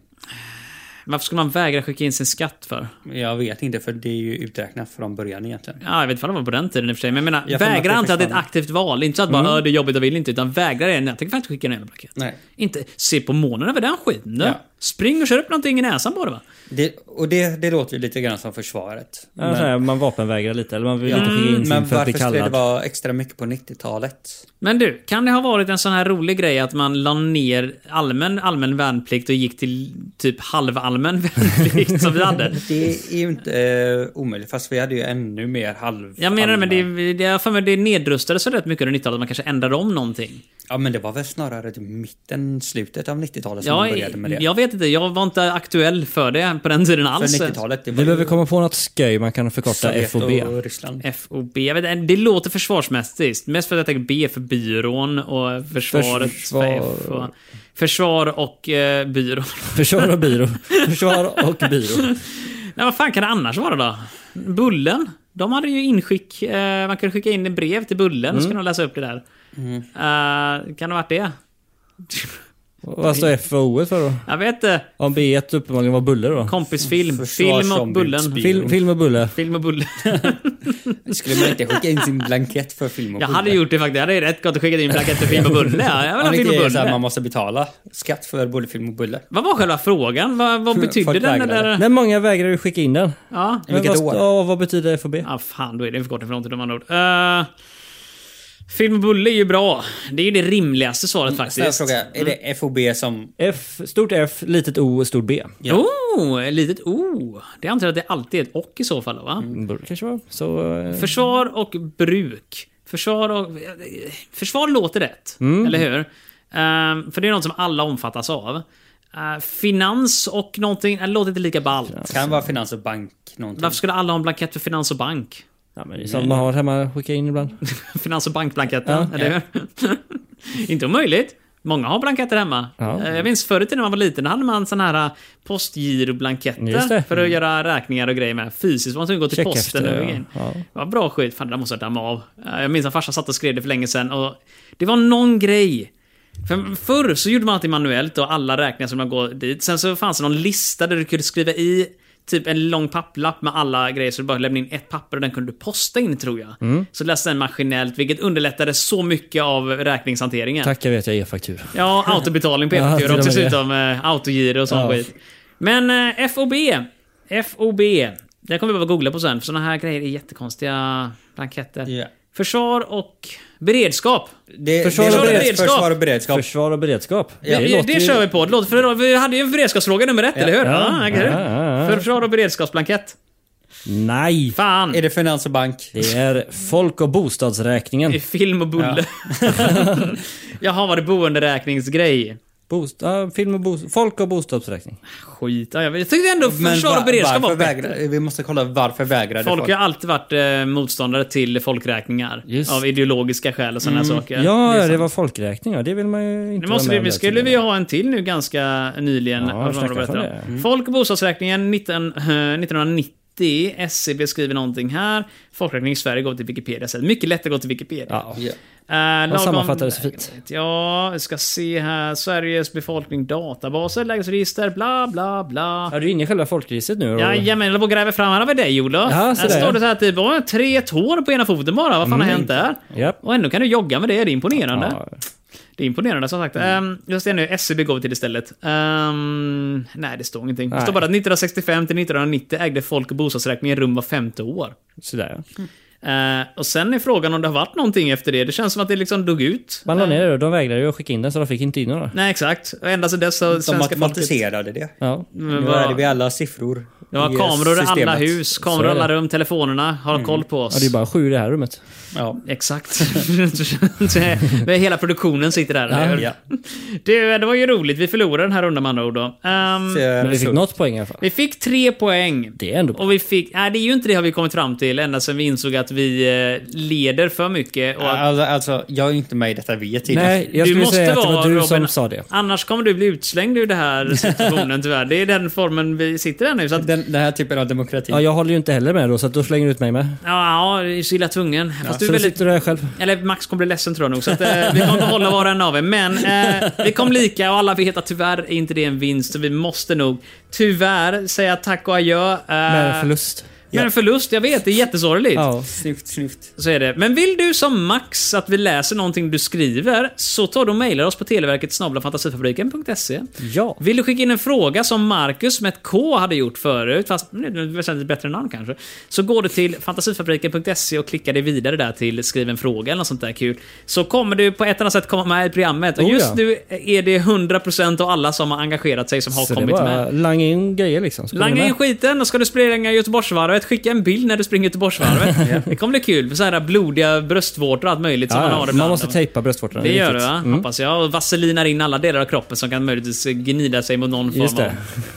Varför skulle man vägra skicka in sin skatt för? Jag vet inte, för det är ju uträknat från början egentligen. Ja, jag vet inte om det var på den tiden i och för sig. Men jag menar, Jag får med vägra att inte det att det är ett försvann. aktivt val. Inte så att bara mm. det är jobbigt, jag vill inte. Utan vägra är, nej, jag tänker fan inte skicka en jävla blankett. Nej. Inte se på månen över den skiten du. Ja. Spring och kör upp någonting i näsan på det va? Det, och det, det låter ju lite grann som försvaret. Ja, så här, man vapenvägrar lite, eller man vill inte skicka in sin Mm, Men för att varför bli skulle det kallad. vara extra mycket på 90-talet? Men du, kan det ha varit en sån här rolig grej att man la ner allmän, allmän värnplikt och gick till typ halvallmän värnplikt som vi hade? Det är ju inte eh, omöjligt, fast vi hade ju ännu mer halv... Jag menar det, men det, allmän. är- det, jag har för mig det nedrustades så rätt mycket under 90-talet. Man kanske ändrade om någonting. Ja, men det var väl snarare typ mitten, slutet av 90-talet som Jag, man började med det. jag vet inte, jag var inte aktuell för det på den tiden För alls. 90-talet, det var Vi behöver ju komma på något sköj man kan förkorta Sovjet FOB. och Ryssland. FOB, jag vet, inte, det låter försvarsmässigt. Mest för att jag tänker B för byrån och försvaret. Försvar. för F och, försvar och eh, byrån. Försvar och byrå. Försvar och byrå. Nej, vad fan kan det annars vara då? Bullen? De hade ju inskick. Mm. Eh, man kunde skicka in ett brev till Bullen och så kunde de läsa upp det där. Eh, kan det ha varit det? Vad står F och O E för då? Jag vet inte. Om B1 uppenbarligen var buller då? Kompisfilm. Film och Bullen. Försvarsombudsbil. Film, film och bulle. Film och Bullen. Skulle man inte skicka in sin blankett för film och Jag bulle? hade gjort det faktiskt. Jag hade rätt gott att skicka in blankett för Film och Bulle. Ja, Jag vill Om ha det Film inte är och så här, man Bulle. måste betala skatt för både film och bulle. Vad var själva frågan? Vad, vad betydde Folk den? vägrade. Eller? Nej, många vägrar ju skicka in den. Ja. Men vilket vad, år? Ja, vad betyder F och B? Ja, fan, då är det förkortning för någonting de andra ord. Eh, film och Bulle är ju bra. Det är ju det rimligaste svaret Så jag faktiskt. frågar, är Mm. det FOB som... F, stort F, litet O, stort B. Oh, ett litet O. Det antar jag att det alltid är ett och i så fall, va? Mm. Borde kanske vara. Så... eh, Försvar och bruk. Försvar och... Försvar låter rätt, Mm. eller hur? Ehm, för det är något som alla omfattas av. Eh, finans och någonting, det låter inte lika ballt. Kan vara finans och bank någonting. Varför skulle alla ha en blankett för finans och bank? Ja, men det är sånt man har hemma, skicka in ibland. Finans och bankblanketten, eller hur? Inte omöjligt. Många har blanketter hemma. Eh, Jag minns förr i tiden när man var liten, då hade man sån här eh, Just postgiroblanketter det. Mm. för att göra räkningar och grejer med. Fysiskt, man var tvungen att gå till Checkhäfte, posten. och ja. grejer. Ja. Det var bra skit. Fan, det där måste jag damma av. Eh, Jag minns att farsan satt och skrev det för länge sedan och det var någon grej. För förr så gjorde man alltid manuellt och alla räkningar som man går dit. Sen så fanns det någon lista där du kunde skriva i typ en lång papplapp med alla grejer så du bara lämnade in ett papper och den kunde du posta in tror jag. Så läste den maskinellt vilket underlättade så mycket av räkningshanteringen. Tack, jag vet, jag är faktura. Ja, autobetalning på Ja, till F-giro och med dessutom. eh, Autogiro och sån skit. Men eh, FOB. FOB. Det kommer vi behöva googla på sen, för såna här grejer är jättekonstiga blanketter. Ja. Försvar och beredskap. Det, Försvar det och låter- beredskap. Försvar och beredskap. Försvar och beredskap. Det, det, låter ju- kör vi på. Det låter, för vi hade ju en beredskapsfråga nummer ett, eller hur? Ja, eller hur? ja, Försvar och beredskapsblankett. Nej! Fan! Är det finans och bank? Det är folk och bostadsräkningen. I film och bulle. Jaha, var det boenderäkningsgrej? Bost, ja, film och bo, folk och bostadsräkning. Skit. Ja, jag vet- jag tyckte ändå försvar va- och beredskap varför var bättre. vägrar, Vi måste kolla varför vägrade Folk folk. har alltid varit eh, motståndare till folkräkningar. Just. Mm. Av ideologiska skäl och sådana saker. Ja, är det, sant. var folkräkning ja. Det vill man ju inte Nu måste vi, vara med om vi där skulle vi tydligen. ju ha en till nu ganska nyligen. Ja, vad som snacka de berättar för om. det. Mm. Folk och bostadsräkningen 19, eh, 1990. SCB skriver någonting här. Folkräkning i Sverige går till Wikipedia. Så mycket lätt att gå till Wikipedia. Ja. Ja. Eh, lagom- sammanfattar det så fint. Ja, vi ska se här. Sveriges befolkning, databaser, lägesregister, bla bla bla. Är du inne i själva folkregistret nu? Roger? Jajamän, jag håller på och gräver fram. Här har vi dig Olof. Oh. Ja, här så där. Mm. står det så här typ, åh, tre tår på ena foten bara. Vad fan har hänt där? Japp. Och ändå kan du jogga med det. Det är imponerande. Ja. Det är imponerande som sagt. Mm. just det nu, SCB går vi till istället. Ehm, nej, det står ingenting. Det Nej. står bara att 1965 till 1990 ägde folk och bostadsräkningen rum var femte år. Sådär. Ehm, och sen är frågan om det har varit någonting efter det. Det känns som att det liksom dog ut. Man la ner det och de vägrade ju att skicka in den så de fick inte in några. Nej, exakt. Och ända sedan dess har De svenska folket... automatiserade det. Ja. Men Nu vad- är det vid alla siffror. Det var i kameror i alla systemet. hus, kameror Så i är det. Mm. alla rum, telefonerna har koll på oss. ja, det är bara sju i det här rummet. Ja. Exakt. Men Hela produktionen sitter där. eller hur? Ja. Du, det var ju roligt. Vi förlorade den här rundan med andra ord. Då. Ehm, Men vi fick Så- något poäng i alla fall. vi fick tre poäng. Det är ändå bra. Och vi fick... Nej, det är ju inte det har vi kommit fram till ända sedan vi insåg att vi eh, leder för mycket. Och att Alltså, alltså, jag är inte med i detta vi är tidigare. Nej, jag skulle säga att det var du som sa det. Annars kommer du bli utslängd ur den här situationen tyvärr. Det är den formen vi sitter i nu. Så att, Den, den här typen av demokrati. Ja, jag håller ju inte heller med då, så att då slänger du ut mig med. ja, ja, det är så illa tvungen. Fast du Så är då väldigt sitter du här själv. Eller Max kommer bli ledsen tror jag nog, så att, eh, vi kommer behålla var och en av er. Men eh, vi kom lika och alla vet att tyvärr är inte det en vinst, så vi måste nog tyvärr säga tack och adjö. Eh, Med förlust. Med en förlust, jag vet. Det är jättesorgligt. Ja. Snyft, snyft. Så är det. Men vill du som Max att vi läser någonting du skriver, så ta då och mejla oss på televerket snabelafantastifabriken.se. Ja. Vill du skicka in en fråga som Marcus med ett K hade gjort förut, fast nu är det ett väsentligt bättre namn kanske, så går du till fantasifabriken.se E och klickar dig vidare där till skriv en fråga eller något sånt där kul. Så kommer du på ett annat sätt komma med i programmet. Och Oh ja. just nu är det 100% av alla som har engagerat sig som har Så det kommit med. bara langa in grejer liksom. så kommer Langa ni in med. skiten och ska du springa Göteborgsvarvet, skicka en bild när du springer Göteborgsvarvet. Det kommer bli kul. Så här blodiga bröstvårtor och allt möjligt som man har Ja, man ibland. måste tejpa bröstvårtorna. Det gör du riktigt. Mm. va? Hoppas jag. Och vaselinar in alla delar av kroppen som kan möjligtvis gnida sig mot någon form Just det. av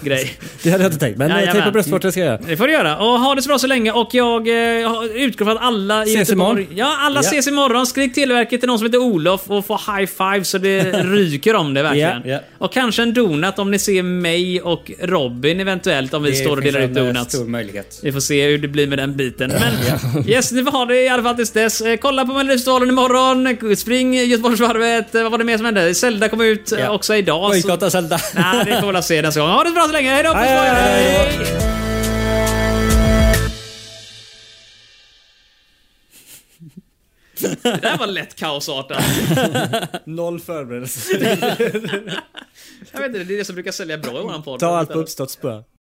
grej. Det hade jag inte tänkt, men Ja, eh, jajamän. tejpa bröstvårtor ska jag göra. Det får du göra. Och ha det så bra så länge. Och jag eh, utgår från att alla i Ses Göteborg... imorgon. Ja, alla Ja. ses imorgon. Skrik Televerket till någon som heter Olof och få high five så det ryker om det verkligen. Ja, ja. Och kanske en donut om ni ser mig och Robin eventuellt om vi står och finns delar ut en, eh, donuts. stor möjlighet. Vi får se. se hur det blir med den biten. Men yes, ni får ha det i alla fall tills dess. Eh, Kolla på Melodifestivalen imorgon. Spring Göteborgsvarvet. Eh, Vad var det mer som hände? Zelda kom ut eh, Ja. också idag. så- Bojkotta Zelda. Nej, det får vi väl se nästa gång. Ha det så bra så länge. Hej då! puss på er. Hej. Det där var lätt kaosartat. Noll förberedelse. Jag vet inte, det är det som brukar sälja bra i våran podd. Ta allt på uppstuds bara.